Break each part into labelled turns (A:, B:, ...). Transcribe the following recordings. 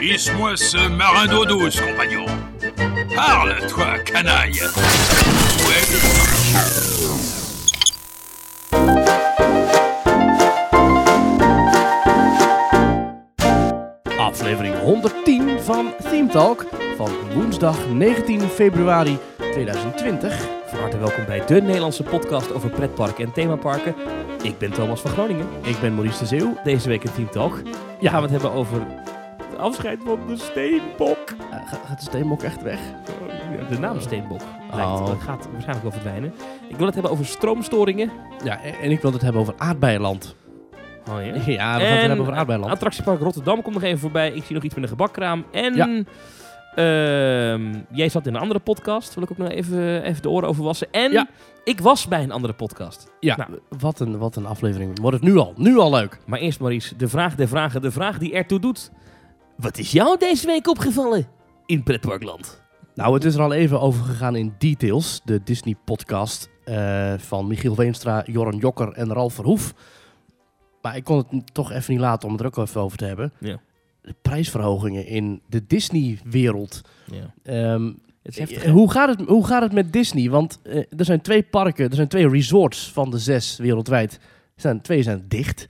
A: Hisse-moi ce marin d'eau douce, compagnon. Parle, toi, canaille.
B: Aflevering 110 van Theme Talk van woensdag 19 februari 2020.
C: Van harte welkom bij de Nederlandse podcast over pretparken en themaparken. Ik ben Thomas van Groningen.
B: Ik ben Maurice de Zeeuw.
C: Deze week in Team Talk
B: Ja.
C: gaan we het hebben over het afscheid van de steenbok.
B: Eh, ga- gaat de steenbok echt weg?
C: De naam steenbok lijkt,
B: Oh.
C: maar gaat waarschijnlijk wel verdwijnen. Ik wil het hebben over stroomstoringen.
B: Ja, en, en ik wil het hebben over aardbeienland. Ah,
C: Oh ja.
B: Ja, we gaan het
C: En,
B: hebben over
C: eh,
B: aardbeienland.
C: Attractiepark Rotterdam komt nog even voorbij. Ik zie nog iets met een gebakkraam. En
B: Ja.
C: ehm, jij zat in een andere podcast. Wil ik ook nog even, even de oren over wassen. En
B: Ja.
C: ik was bij een andere podcast.
B: Ja,
C: nou.
B: wat, een, wat een aflevering. Wordt het nu al, nu al leuk.
C: Maar eerst Maurice, de vraag der vragen, de vraag die ertoe doet. Wat is jou deze week opgevallen in pretparkland?
B: Nou, het is er al even over gegaan in Details, de Disney-podcast eh, van Michiel Veenstra, Joran Jokker en Ralf Verhoef. Maar ik kon het n- toch even niet laten om het er ook even over te hebben.
C: Ja.
B: De prijsverhogingen in de Disney-wereld.
C: Ja.
B: Ehm,
C: Het is heftig.
B: eh, hoe, gaat het, hoe gaat het met Disney? Want eh, er zijn twee parken, er zijn twee resorts van de zes wereldwijd. Er Zijn, twee zijn dicht.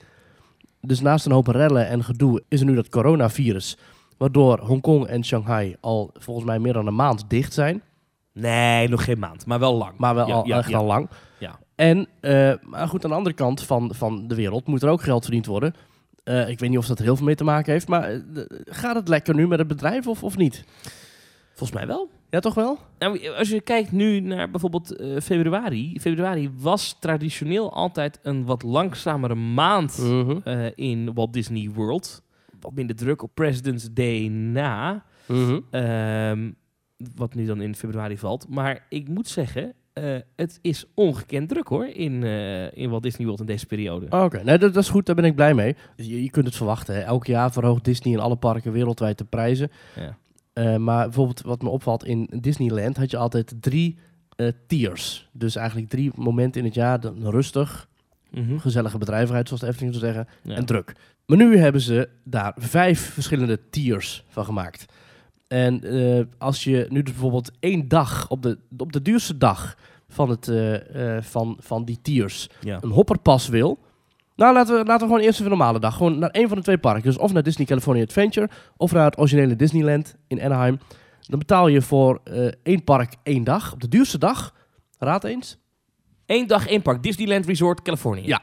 B: Dus naast een hoop rellen en gedoe is er nu dat coronavirus. Waardoor Hongkong en Shanghai al volgens mij meer dan een maand dicht zijn.
C: Nee, nog geen maand, maar wel lang.
B: Maar wel
C: Ja,
B: al,
C: ja,
B: echt
C: ja.
B: al lang.
C: Ja.
B: En, eh, maar goed, aan de andere kant van, van de wereld moet er ook geld verdiend worden. Eh, ik weet niet of dat er heel veel mee te maken heeft. Maar eh, de- gaat het lekker nu met het bedrijf of, of niet?
C: Volgens mij wel.
B: Ja, toch wel?
C: Nou, als je kijkt nu naar bijvoorbeeld eh, februari. Februari was traditioneel altijd een wat langzamere maand eh, in Walt Disney World. Wat minder druk op President's Day na. Ehm, wat nu dan in februari valt. Maar ik moet zeggen, eh, het is ongekend druk hoor in, eh, in Walt Disney World in deze periode.
B: Oh, Oké, nee, dat, dat is goed. Daar ben ik blij mee. Dus Je, je kunt het verwachten. Hè. Elk jaar verhoogt Disney in alle parken wereldwijd de prijzen.
C: Ja.
B: Eh, maar bijvoorbeeld wat me opvalt, in Disneyland had je altijd drie eh, tiers. Dus eigenlijk drie momenten in het jaar. Dan rustig,
C: Mhm.
B: gezellige bedrijvigheid, zoals de Efteling zou zeggen.
C: Ja.
B: en druk. Maar nu hebben ze daar vijf verschillende tiers van gemaakt. En eh, als je nu dus bijvoorbeeld één dag, op de, op de duurste dag van, het, eh, eh, van, van die tiers,
C: Ja.
B: een hopperpas wil. Nou, laten we, laten we gewoon eerst even een normale dag. Gewoon naar één van de twee parken. Dus of naar Disney California Adventure of naar het originele Disneyland in Anaheim. Dan betaal je voor eh, één park één dag. Op de duurste dag, raad eens.
C: Eén dag, één park. Disneyland Resort, Californië.
B: Ja.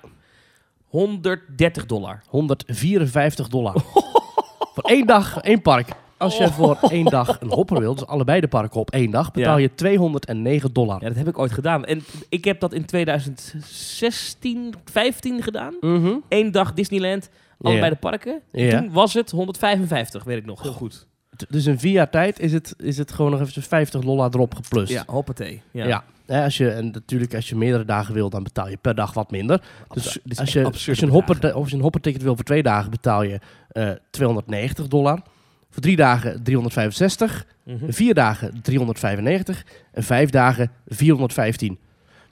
C: 130 dollar.
B: 154 dollar. voor één dag, één park. Als
C: Oh.
B: je voor één dag een hopper wilt, dus allebei de parken op één dag, betaal
C: Ja.
B: je 209 dollar.
C: Ja, dat heb ik ooit gedaan. En ik heb dat in 2016, 15 gedaan.
B: Mhm.
C: Eén dag Disneyland, allebei
B: Ja.
C: de parken.
B: Ja.
C: Toen was het 155, weet ik nog. Heel goed.
B: T- Dus in vier jaar tijd is het, is het gewoon nog even 50 dollar erop geplust.
C: hoppatee. Ja.
B: Dus- Ja. Hè, als je, en natuurlijk, als je meerdere dagen wil, dan betaal je per dag wat minder. Dus
C: dit
B: als
C: is echt
B: je, als
C: absurde
B: je, een hopper, of als je een hopperticket wil voor twee dagen, betaal je eh, 290 dollar. Voor drie dagen 365.
C: Mhm.
B: Vier dagen 395 en vijf dagen 415.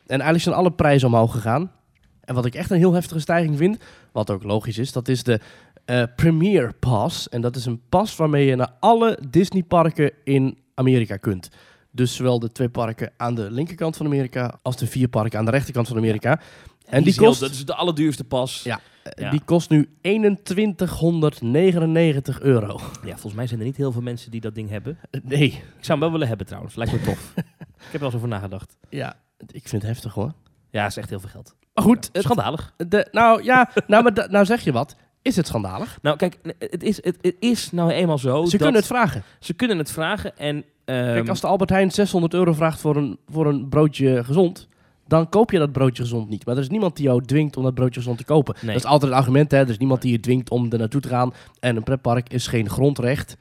B: En eigenlijk zijn alle prijzen omhoog gegaan. En wat ik echt een heel heftige stijging vind, wat ook logisch is, dat is de eh Premier Pass. En dat is een pas waarmee je naar alle Disney-parken in Amerika kunt. Dus zowel de twee parken aan de linkerkant van Amerika als de vier parken aan de rechterkant van Amerika. En die
C: is heel-
B: kost,
C: Dat is de allerduurste pas.
B: dus- Ja.
C: ja.
B: die kost nu 2199 euro.
C: Ja, volgens mij zijn er niet heel veel mensen die dat ding hebben.
B: Nee,
C: Ik zou hem wel willen hebben trouwens. Lijkt me tof. ik heb er wel eens over nagedacht.
B: ja, ik vind het heftig hoor.
C: Ja, is echt heel veel geld.
B: Maar goed, het,
C: Schandalig.
B: De, nou ja, nou, maar da- nou zeg je wat. Is het schandalig? Oh,
C: Nou, kijk, het is, het, het is nou eenmaal zo.
B: Ze
C: dat
B: kunnen het vragen.
C: ze kunnen het vragen. En, ehm,
B: Kijk, als de Albert Heijn 600 euro vraagt voor een, voor een broodje gezond, dan koop je dat broodje gezond niet. Maar er is niemand die jou dwingt om dat broodje gezond te kopen.
C: Nee.
B: Dat is altijd een argument, hè. Er is niemand die je dwingt om er naartoe te gaan. En een pretpark is geen grondrecht.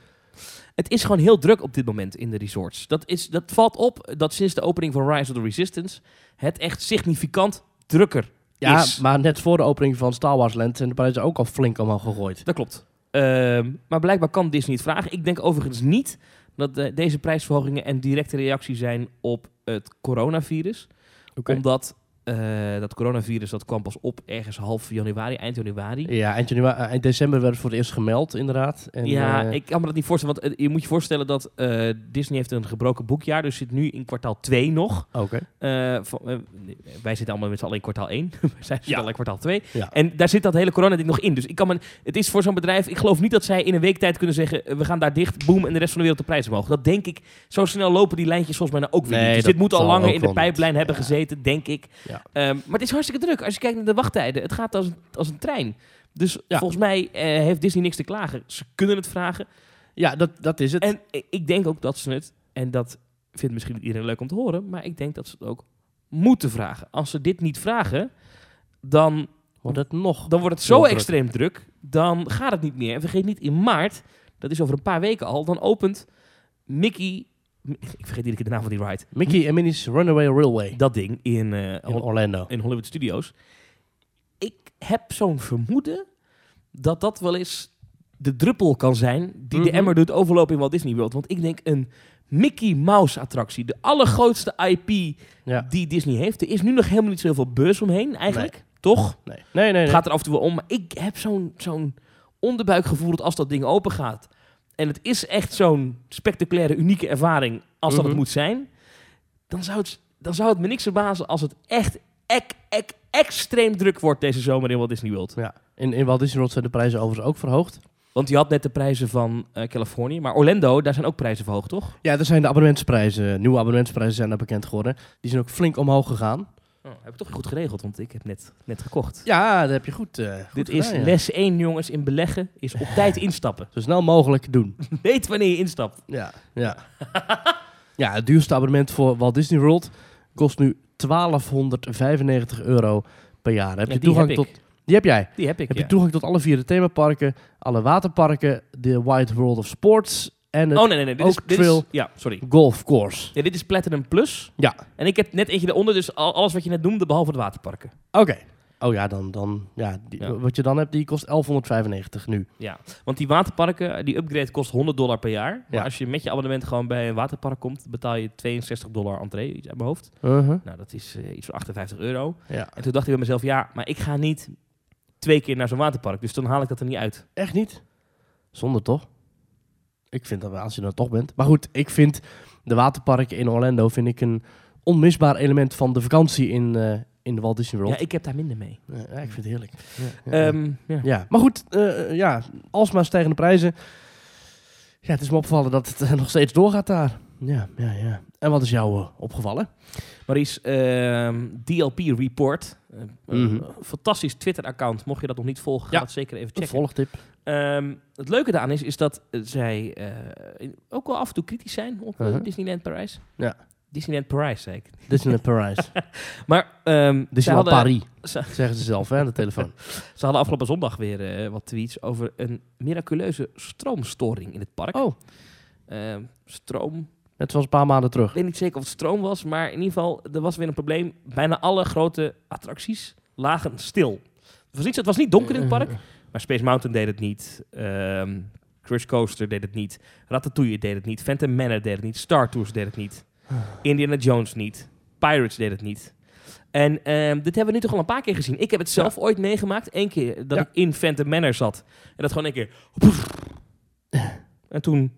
C: Het is gewoon heel druk op dit moment in de resorts. Dat, is, dat valt op dat sinds de opening van Rise of the Resistance het echt significant drukker
B: Ja,
C: is.
B: maar net voor de opening van Star Wars Land zijn de prijzen ook al flink omhoog gegooid.
C: Dat klopt. Ehm, maar blijkbaar kan Disney het vragen. Ik denk overigens niet dat eh, deze prijsverhogingen een directe reactie zijn op het coronavirus.
B: Oké.
C: Omdat eh, dat coronavirus dat kwam pas op ergens half januari, eind januari.
B: Ja, eind, januari, eh, eind december werd het voor het eerst gemeld, inderdaad. En,
C: ja,
B: eh,
C: ik kan me dat niet voorstellen. Want eh, je moet je voorstellen dat eh, Disney heeft een gebroken boekjaar. Dus zit nu in kwartaal 2 nog.
B: Oké.
C: Eh, van- eh, wij zitten allemaal met z'n allen in kwartaal 1. wij zijn
B: Ja.
C: al in kwartaal 2.
B: Ja.
C: En daar zit dat hele corona-ding nog in. Dus ik kan me, het is voor zo'n bedrijf... Ik geloof niet dat zij in een week tijd kunnen zeggen... eh, we gaan daar dicht, boom, en de rest van de wereld de prijs omhoog. Dat denk ik. Zo snel lopen die lijntjes volgens mij nou ook weer
B: Nee,
C: niet. Dus
B: dat
C: dit moet al
B: zal
C: langer
B: ook
C: in de
B: wel niet.
C: pijplijn hebben
B: Ja.
C: gezeten, denk ik.
B: Ja.
C: Ehm, maar het is hartstikke druk. Als je kijkt naar de wachttijden, het gaat als, een- als een trein. Dus
B: Ja.
C: volgens mij eh, heeft Disney niks te klagen. Ze kunnen het vragen.
B: Ja, dat, dat is het.
C: En i- ik denk ook dat ze het, en dat vindt misschien niet iedereen leuk om te horen, maar ik denk dat ze het ook moeten vragen. Als ze dit niet vragen, dan,
B: Wordt het nog?
C: dan wordt het zo
B: Heel druk.
C: extreem druk. Dan gaat het niet meer. En vergeet niet, in maart, dat is over een paar weken al, dan opent Mickey. M- Ik vergeet iedere keer de naam van die ride.
B: Mickey en Minnie's Runaway Railway
C: Dat ding in, eh,
B: in
C: Hol-
B: Orlando.
C: in Hollywood Studios. Ik heb zo'n vermoeden dat dat wel eens de druppel kan zijn die de
B: Mhm.
C: emmer doet overlopen in Walt Disney World. Want ik denk een Mickey Mouse attractie, de allergrootste IP
B: Ja.
C: die Disney heeft. Er is nu nog helemaal niet zoveel beurs omheen eigenlijk, toch?
B: Nee, nee, nee. nee.
C: Het gaat er af en toe wel om, maar ik heb zo'n zo'n onderbuikgevoel dat als dat ding open gaat en het is echt zo'n spectaculaire, unieke ervaring als dat
B: Mhm.
C: het moet zijn, dan zou het, dan zou het me niks verbazen als het echt ek, ek, extreem druk wordt deze zomer in Walt Disney World.
B: Ja. In, in Walt Disney World zijn de prijzen overigens ook verhoogd.
C: Want je had net de prijzen van eh, Californië, maar Orlando, daar zijn ook prijzen verhoogd, toch?
B: Ja, er zijn de abonnementsprijzen, nieuwe abonnementsprijzen zijn daar bekend geworden. Die zijn ook flink omhoog gegaan.
C: Oh, heb ik toch goed geregeld, want ik heb net, net gekocht.
B: Ja, dat heb je goed, eh, goed
C: Dit
B: gedaan,
C: is
B: ja.
C: les 1, jongens, in beleggen, is op tijd instappen.
B: Zo snel mogelijk doen.
C: Weet wanneer je instapt.
B: Ja, ja. ja, het duurste abonnement voor Walt Disney World kost nu 1295 euro per jaar. Heb
C: Ja,
B: je
C: die
B: toegang
C: heb ik.
B: tot... Die heb jij.
C: Die heb ik,
B: Heb
C: ja.
B: je toegang tot alle vier de themaparken, alle waterparken, de Wide World of Sports en het
C: Oh nee, nee, nee. Dit
B: ook
C: is, dit
B: trail.
C: is, ja, sorry.
B: golfcourse.
C: Ja, dit is Platinum Plus.
B: Ja,
C: En ik heb net eentje eronder, dus al- alles wat je net noemde, behalve de waterparken.
B: oké. Oh ja, dan, dan ja, die-
C: Ja.
B: wat je dan hebt, die kost 1195 nu.
C: Want die waterparken, eh, die upgrade kost 100 dollar per jaar. Maar
B: Ja.
C: als je met je abonnement gewoon bij een waterpark komt, betaal je 62 dollar entree, iets uit mijn hoofd.
B: Uh-huh.
C: Nou, dat is eh, iets van 58 euro.
B: Ja.
C: En toen dacht ik bij mezelf, ja, maar ik ga niet twee keer naar zo'n waterpark. Dus dan haal ik dat er niet uit.
B: Echt niet? Zonde toch? Ik vind dat wel, als je er toch bent. Maar goed, ik vind de waterparken in Orlando vind ik een onmisbaar element van de vakantie in, eh, in de Walt Disney
C: Ja,
B: World.
C: ik heb daar minder mee.
B: Ja, ik, vind het heerlijk. Ja, ja.
C: Ehm, ja.
B: Ja, maar goed, eh ja, alsmaar stijgende prijzen. Ja, het is me opgevallen dat het eh, nog steeds doorgaat daar. Ja, ja, ja. En wat is jou eh, opgevallen?
C: Maurice, ehm, DLP Report. Eh, eh,
B: Mhm.
C: Fantastisch Twitter-account. Mocht je dat nog niet volgen, ga
B: Ja.
C: dat zeker even
B: Een
C: checken.
B: volgtip.
C: Ehm, het leuke daaraan is, is dat eh, zij eh, in- ook wel af en toe kritisch zijn op eh,
B: Uh-huh.
C: Disneyland Parijs.
B: Ja.
C: Disneyland Parijs, zei ik.
B: Disneyland Parijs.
C: Maar ehm, zij,
B: Disneyland
C: hadden,
B: Dus Paris,
C: ze-
B: zeggen ze zelf hè, aan de telefoon.
C: ze hadden afgelopen zondag weer eh, wat tweets over een miraculeuze stroomstoring in het park.
B: Oh.
C: Ehm, stroom.
B: Net zoals een paar maanden terug.
C: Ik weet niet zeker of het stroom was, maar in ieder geval, er was weer een probleem. Bijna alle grote attracties lagen stil. Het was niet, zo- het was niet donker
B: Eh,
C: in het park, Maar Space Mountain deed het niet. ehm Crush Coaster deed het niet. Ratatouille deed het niet. Phantom Manor deed het niet. Star Tours deed het niet. Indiana Jones niet. Pirates deed het niet. En ehm, dit hebben we nu toch al een paar keer gezien. Ik heb het zelf ooit meegemaakt. Eén keer dat
B: Ja.
C: ik in Phantom Manor zat. En dat gewoon één keer... En toen,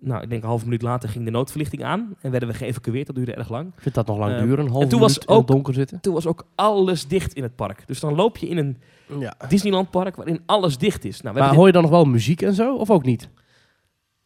C: nou, ik denk een half minuut later ging de noodverlichting aan. En werden we geëvacueerd. Dat duurde erg lang.
B: Ik vind dat nog lang
C: Eh,
B: duren. Een half
C: en toen
B: minuut
C: was
B: in het
C: ook-
B: donker zitten.
C: Toen was ook alles dicht in het park. Dus dan loop je in een
B: Ja.
C: Disneylandpark waarin alles dicht is. Nou, we
B: Maar
C: hebben dit-
B: hoor je dan nog wel muziek en zo? Of ook niet?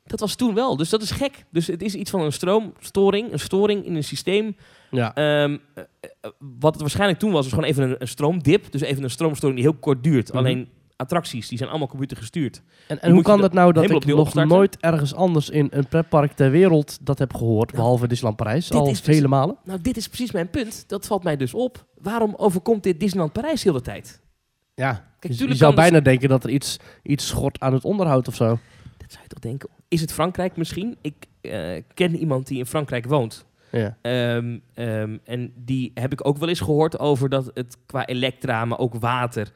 C: Dat was toen wel, dus dat is gek. Dus het is iets van een stroomstoring, een storing in een systeem.
B: Ja.
C: Ehm, eh, eh, wat het waarschijnlijk toen was, was gewoon even een, een stroomdip. Dus even een stroomstoring die heel kort duurt.
B: Mhm.
C: Alleen attracties, die zijn allemaal computer gestuurd.
B: En, en
C: moet
B: hoe
C: je
B: kan
C: de-
B: dat nou dat
C: helemaal
B: ik
C: opnieuw
B: nog
C: opstarten?
B: nooit ergens anders in een pretpark ter wereld dat heb gehoord, behalve Disneyland Parijs,
C: dit
B: al
C: is
B: vele
C: precies-
B: malen?
C: Nou, dit is precies mijn punt. Dat valt mij dus op. Waarom overkomt dit Disneyland Parijs heel de tijd?
B: Ja,
C: Kijk,
B: Dus je, je
C: tuurlijk
B: zou
C: kan het-
B: bijna denken dat er iets, iets schort aan het onderhoud of zo.
C: Dat zou je toch denken. Is het Frankrijk misschien? Ik eh, ken iemand die in Frankrijk woont.
B: Ja.
C: Ehm, ehm, en die heb ik ook wel eens gehoord over dat het qua elektra, maar ook water,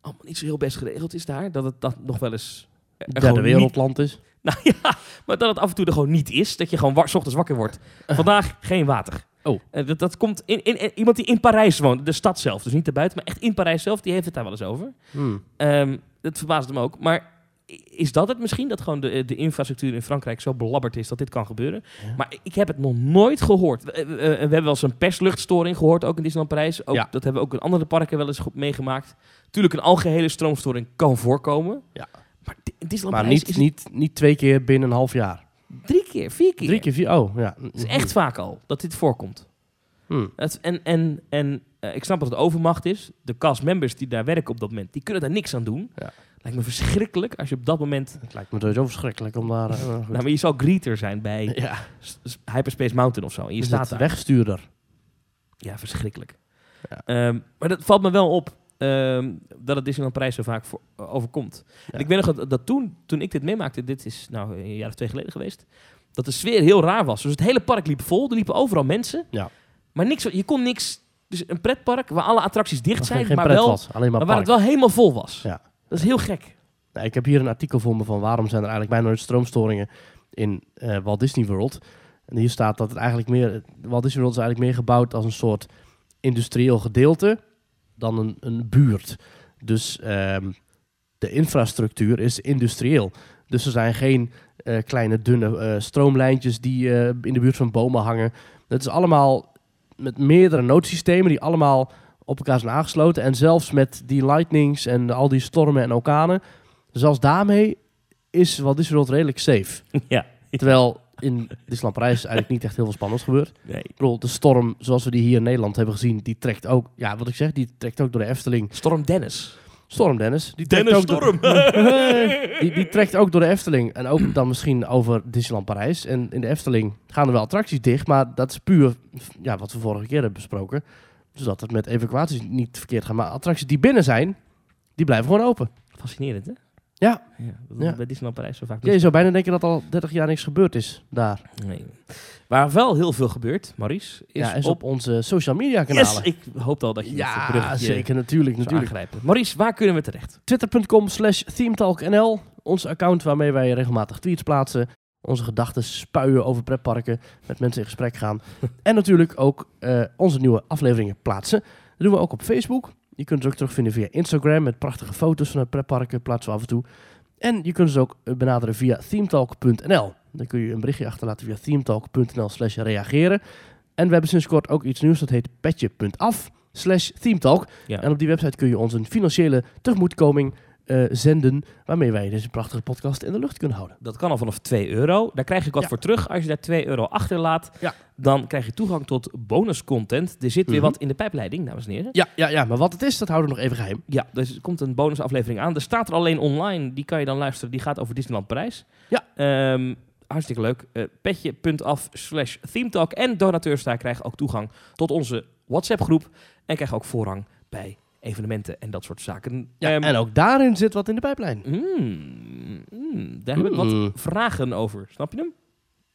C: allemaal niet zo heel best geregeld is daar. Dat het dat nog wel eens... eh, er
B: Derde
C: gewoon niet-
B: wereldland is.
C: nou ja, maar dat het af en toe er gewoon niet is. Dat je gewoon wa- 's ochtends wakker wordt. Vandaag geen water.
B: Oké. Eh. Oh.
C: Eh, dat, dat komt in, in, in- iemand die in Parijs woont, de stad zelf, dus niet daarbuiten, maar echt in Parijs zelf, die heeft het daar wel eens over.
B: Hmm.
C: Ehm, dat verbaast hem ook. Maar i- is dat het misschien? Dat gewoon de, de infrastructuur in Frankrijk zo belabberd is dat dit kan gebeuren. Maar ik heb het nog nooit gehoord. We, eh, eh, we hebben wel eens een persluchtstoring gehoord, ook in Disneyland Parijs. Ook,
B: Ja.
C: Dat hebben we ook in andere parken wel eens goed meegemaakt. Tuurlijk, een algehele stroomstoring kan voorkomen.
B: Ja.
C: Maar di- in Disneyland
B: Maar
C: Parijs
B: niet,
C: is het
B: niet, niet twee keer binnen een half jaar.
C: drie keer, vier keer.
B: Drie keer vier. Oh, ja.
C: Het is echt vaak al dat dit voorkomt.
B: Hmm.
C: Het- en en, en eh, ik snap dat het overmacht is. De castmembers die daar werken op dat moment, die kunnen daar niks aan doen.
B: Ja.
C: Lijkt me verschrikkelijk als je op dat moment...
B: Het lijkt me sowieso verschrikkelijk om daar... eh, goed.
C: Nou, maar je zal greeter zijn bij
B: ja,
C: S- S- Hyperspace Mountain of zo. En je
B: is
C: staat
B: dat
C: daar.
B: wegstuurder.
C: Ja, verschrikkelijk.
B: Ja.
C: Ehm, maar dat valt me wel op ehm, dat het Disneyland Parijs zo vaak voor, eh, overkomt. En ik weet nog dat, dat toen, toen ik dit meemaakte, dit is nou een jaar of twee geleden geweest, dat de sfeer heel raar was. Dus het hele park liep vol, er liepen overal mensen.
B: Ja.
C: Maar niks, je kon niks... Dus een pretpark waar alle attracties dicht
B: Geen,
C: zijn,
B: geen
C: maar
B: pret
C: wel
B: was, alleen maar,
C: Maar waar
B: park.
C: het wel helemaal vol was.
B: Ja.
C: Dat is heel gek.
B: Nou, ik heb hier een artikel voor me van waarom zijn er eigenlijk bijna nooit stroomstoringen in eh, Walt Disney World. En hier staat dat het eigenlijk meer... Walt Disney World is eigenlijk meer gebouwd als een soort industrieel gedeelte dan een, een buurt. Dus ehm, de infrastructuur is industrieel. Dus er zijn geen eh, kleine dunne eh, stroomlijntjes die eh, in de buurt van bomen hangen. Het is allemaal met meerdere noodsystemen die allemaal op elkaar zijn aangesloten. En zelfs met die lightnings en al die stormen en orkanen. Zelfs Dus daarmee is Walt Disney World redelijk safe.
C: Ja.
B: Terwijl in Disneyland Parijs eigenlijk niet echt heel veel spannends gebeurt.
C: Nee.
B: Ik bedoel, de storm zoals we die hier in Nederland hebben gezien, die trekt ook, ja, wat ik zeg, die trekt ook door de Efteling.
C: Storm Dennis.
B: Storm Dennis. Die trekt
C: Dennis
B: ook door-
C: Storm.
B: die, die trekt ook door de Efteling. En ook dan misschien over Disneyland Parijs. En in de Efteling gaan er wel attracties dicht. Maar dat is puur ja, wat we vorige keer hebben besproken. Zodat het met evacuaties niet verkeerd gaat. Maar attracties die binnen zijn, die blijven gewoon open.
C: Fascinerend, hè?
B: Ja.
C: ja dat
B: Ja.
C: Bij Disneyland Parijs zo vaak.
B: Ja, je zou bijna denken dat al 30 jaar niks gebeurd is daar.
C: Nee. Waar wel heel veel gebeurt, Maurice, is,
B: ja, is op
C: op...
B: onze social media
C: Yes,
B: kanalen.
C: ik hoop al dat je dat
B: ja,
C: bruggetje
B: zeker. Natuurlijk,
C: zou
B: natuurlijk.
C: aangrijpen. Maurice, waar kunnen we terecht?
B: Twitter.com slash themetalknl. Ons account waarmee wij regelmatig tweets plaatsen. Onze gedachten spuien over pretparken. Met mensen in gesprek gaan. en natuurlijk ook eh, onze nieuwe afleveringen plaatsen. Dat doen we ook op Facebook. Je kunt het ook terugvinden via Instagram. Met prachtige foto's van de pretparken plaatsen we af en toe. En je kunt ze ook eh, benaderen via themetalk.nl. Dan kun je een berichtje achterlaten via themetalk.nl slash reageren. En we hebben sinds kort ook iets nieuws. Dat heet petje.af slash themetalk.
C: Ja.
B: En op die website kun je ons een financiële tegemoetkoming eh, zenden. waarmee wij deze prachtige podcast in de lucht kunnen houden.
C: Dat kan al vanaf 2 euro. Daar krijg ik wat
B: Ja.
C: voor terug. Als je daar 2 euro achterlaat,
B: Ja.
C: dan krijg je toegang tot bonuscontent. Er zit weer
B: Mhm.
C: wat in de pijpleiding, dames en heren.
B: Ja, ja, ja, maar wat het is, dat houden we nog even geheim.
C: Ja, dus er komt een bonusaflevering aan. Er staat er alleen online. Die kan je dan luisteren. Die gaat over Disneyland Parijs.
B: Ja.
C: Ehm, hartstikke leuk. Eh, Petje.af slash themetalk. En donateurs daar krijgen ook toegang tot onze WhatsApp groep. En krijgen ook voorrang bij evenementen en dat soort zaken.
B: Ja,
C: Ehm,
B: en ook daarin zit wat in de pijplijn.
C: mm, mm, daar hebben we wat
B: Mm.
C: vragen over. Snap je hem?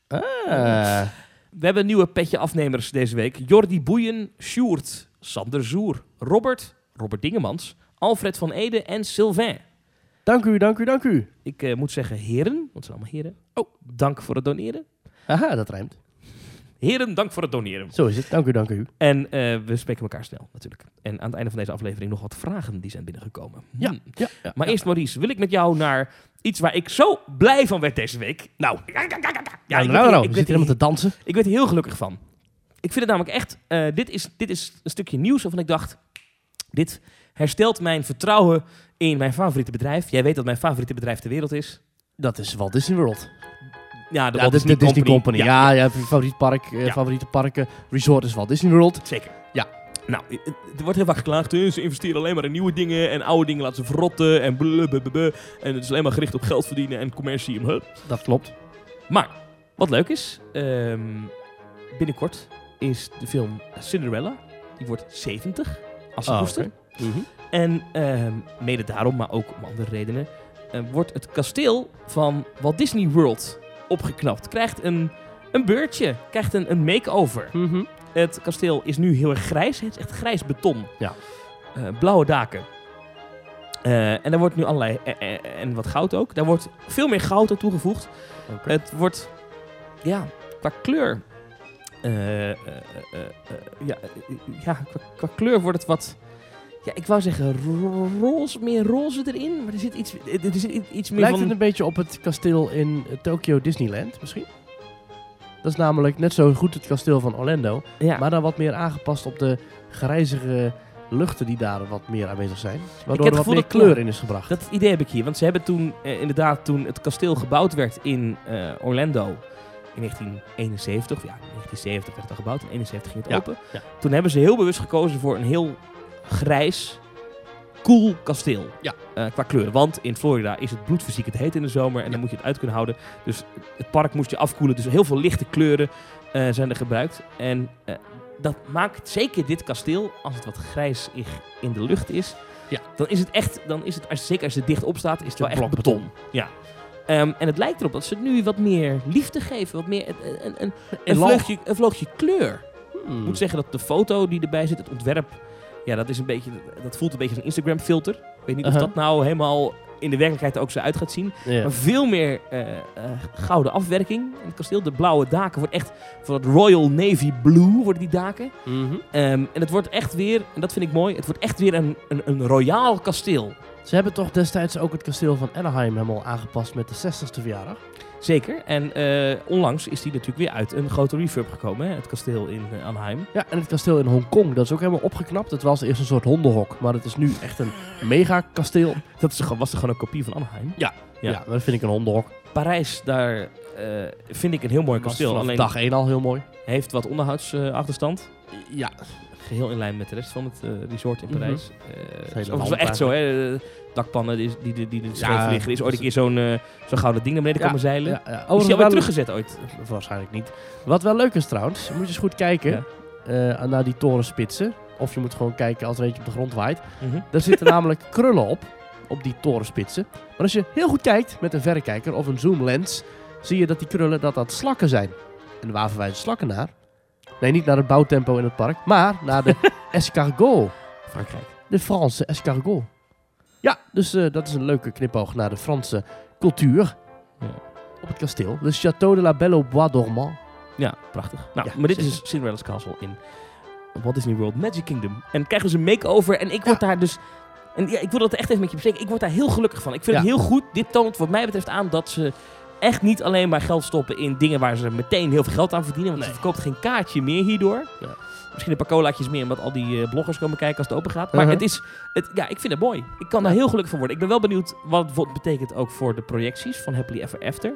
B: Ah.
C: We hebben nieuwe petje afnemers deze week. Jordi Boeien, Sjoerd, Sander Zoer, Robert, Robert Dingemans, Alfred van Ede en Sylvain.
B: Dank u, dank u, dank u.
C: Ik eh, moet zeggen, heren, want het zijn allemaal heren.
B: Oh.
C: Dank voor het doneren.
B: Aha, dat rijmt.
C: Heren, dank voor het doneren.
B: Zo is het. Dank u, dank u.
C: En eh, we spreken elkaar snel, natuurlijk. En aan het einde van deze aflevering nog wat vragen die zijn binnengekomen.
B: Ja,
C: Hmm.
B: ja, ja.
C: Maar eerst, Maurice, wil ik met jou naar iets waar ik zo blij van werd deze week. Nou, ja, ik,
B: Ja, nou,
C: werd-
B: nou, nou,
C: ik
B: we
C: werd-
B: zitten helemaal te dansen.
C: ik werd er heel gelukkig van. Ik vind het namelijk echt... eh, dit, is, dit is een stukje nieuws waarvan ik dacht... Dit herstelt mijn vertrouwen in mijn favoriete bedrijf. Jij weet dat mijn favoriete bedrijf ter wereld is.
B: Dat is Walt Disney World.
C: Ja, de
B: ja,
C: Walt
B: dit is de
C: Disney,
B: Disney Company.
C: Ja,
B: Ja, ja, favoriet park, eh,
C: Ja.
B: favoriete parken. Resort is Walt Disney World.
C: Zeker.
B: Ja.
C: Nou, eh, eh, er wordt heel vaak geklaagd. eh, Ze investeren alleen maar in nieuwe dingen. En oude dingen laten ze verrotten. En blablabla. En het is alleen maar gericht op geld verdienen en commercie. Huh.
B: Dat klopt.
C: Maar, wat leuk is. ehm, binnenkort is de film Cinderella. Die wordt 70. Als ze
B: Ah,
C: koester.
B: oké. Mhm.
C: En ehm, mede daarom, maar ook om andere redenen, eh, wordt het kasteel van Walt Disney World opgeknapt. Krijgt een, een beurtje, krijgt een, een makeover.
B: Mhm.
C: Het kasteel is nu heel erg grijs. Het is echt grijs beton.
B: Ja.
C: Eh, blauwe daken. Eh, en daar wordt nu allerlei... eh, eh, en wat goud ook. Daar wordt veel meer goud aan toegevoegd.
B: Oké.
C: Het wordt... Ja, qua kleur eh, eh, eh, eh, ja, eh, ja qua, qua kleur wordt het wat... Ja, ik wou zeggen ro- roze, meer roze erin. Maar er zit iets, eh, er zit i- iets meer
B: Lijkt
C: van...
B: het een beetje op het kasteel in eh, Tokyo Disneyland misschien? Dat is namelijk net zo goed het kasteel van Orlando,
C: ja.
B: maar dan wat meer aangepast op de grijzige luchten die daar wat meer aanwezig zijn. Waardoor
C: het
B: er wat
C: gevoel
B: meer
C: dat-
B: kleur in is gebracht.
C: Dat idee heb ik hier. Want ze hebben toen, eh, inderdaad, toen het kasteel gebouwd werd in eh, Orlando in 1971. of Ja, 1970 werd het al gebouwd. In 71 ging het
B: Ja,
C: open.
B: ja.
C: Toen hebben ze heel bewust gekozen voor een heel grijs, cool kasteel.
B: Ja.
C: Eh, qua kleur. Want in Florida is het bloedfysiek het heet in de zomer. En dan moet je het uit kunnen houden. Dus het park moest je afkoelen. Dus heel veel lichte kleuren eh, zijn er gebruikt. En eh, dat maakt zeker dit kasteel, als het wat grijs in- in de lucht is,
B: Ja.
C: dan is het echt, dan is het, als, zeker als het dicht op staat, is het wel
B: een
C: echt
B: blok
C: beton. Ja. Ehm, en het lijkt erop dat ze het nu wat meer liefde geven, wat meer een, een, een, een,
B: Elan.
C: vleugje, een vleugje kleur.
B: Hmm.
C: Ik moet zeggen dat de foto die erbij zit, het ontwerp, ja, dat, is een beetje, dat voelt een beetje als een Instagram-filter. Ik weet niet
B: Uh-huh.
C: of dat nou helemaal in de werkelijkheid ook zo uit gaat zien.
B: Ja.
C: Maar veel meer eh, eh, gouden afwerking in het kasteel. De blauwe daken wordt echt van het Royal Navy Blue worden die daken.
B: Mhm.
C: Ehm, en het wordt echt weer, en dat vind ik mooi, het wordt echt weer een, een, een royaal kasteel.
B: Ze hebben toch destijds ook het kasteel van Anaheim helemaal aangepast met de 60ste verjaardag?
C: Zeker. En eh, onlangs is die natuurlijk weer uit een grote refurb gekomen, hè? het kasteel in eh, Anaheim.
B: Ja, en het kasteel in Hongkong, dat is ook helemaal opgeknapt. Het was eerst een soort hondenhok, maar het is nu echt een mega kasteel.
C: Dat is, gewoon- was toch gewoon een kopie van Anaheim?
B: Ja,
C: Ja.
B: dat vind ik een hondenhok.
C: Parijs, daar eh, vind ik een heel mooi
B: was
C: kasteel.
B: vanaf
C: Alleen
B: dag 1 al heel mooi.
C: heeft wat onderhoudsachterstand.
B: Ja.
C: Geheel in lijn met de rest van het eh, resort in
B: Mhm.
C: Parijs. Eh,
B: hele
C: dat is
B: land
C: overigens wel echt zo, hè? eh, Dakpannen die, die, die, die er scheef
B: Ja,
C: liggen. Er is ooit een
B: dus-
C: keer zo'n eh, zo'n gouden ding naar beneden
B: Ja,
C: komen zeilen.
B: ja, ja.
C: Is
B: Overigens
C: die
B: wel-
C: alweer teruggezet ooit?
B: Waarschijnlijk niet. Wat wel leuk is trouwens, moet je eens goed kijken
C: Ja.
B: eh, naar die torenspitsen. Of je moet gewoon kijken als er eentje op de grond waait. Daar zitten namelijk krullen op, op die torenspitsen. Maar als je heel goed kijkt met een verrekijker of een zoomlens, zie je dat die krullen dat dat slakken zijn. En waar verwijzen slakken naar? Nee, niet naar het bouwtempo in het park, maar naar de escargot.
C: Frankrijk.
B: De Franse escargot. Ja, dus eh, dat is een leuke knipoog naar de Franse cultuur.
C: Ja.
B: Op het kasteel. Le Château de la Belle au Bois Dormant.
C: Ja, prachtig. Nou,
B: Ja,
C: maar dit is
B: zeker.
C: dus Cinderella's Castle in Walt Disney World Magic Kingdom. En krijgen ze een makeover en ik word daar dus... En ja, ik wil dat echt even met je bespreken. Ik word daar heel gelukkig van. Ik vind
B: Ja.
C: het heel goed. Dit toont wat mij betreft aan dat ze echt niet alleen maar geld stoppen in dingen waar ze meteen heel veel geld aan verdienen. Want
B: Nee.
C: ze verkoopt geen kaartje meer hierdoor.
B: Ja.
C: Misschien een paar colaatjes meer omdat al die eh, bloggers komen kijken als het open gaat. Maar
B: Mhm.
C: het is... Het, ja, ik vind het mooi. Ik kan daar heel gelukkig van worden. Ik ben wel benieuwd wat het wat betekent ook voor de projecties van Happily Ever After.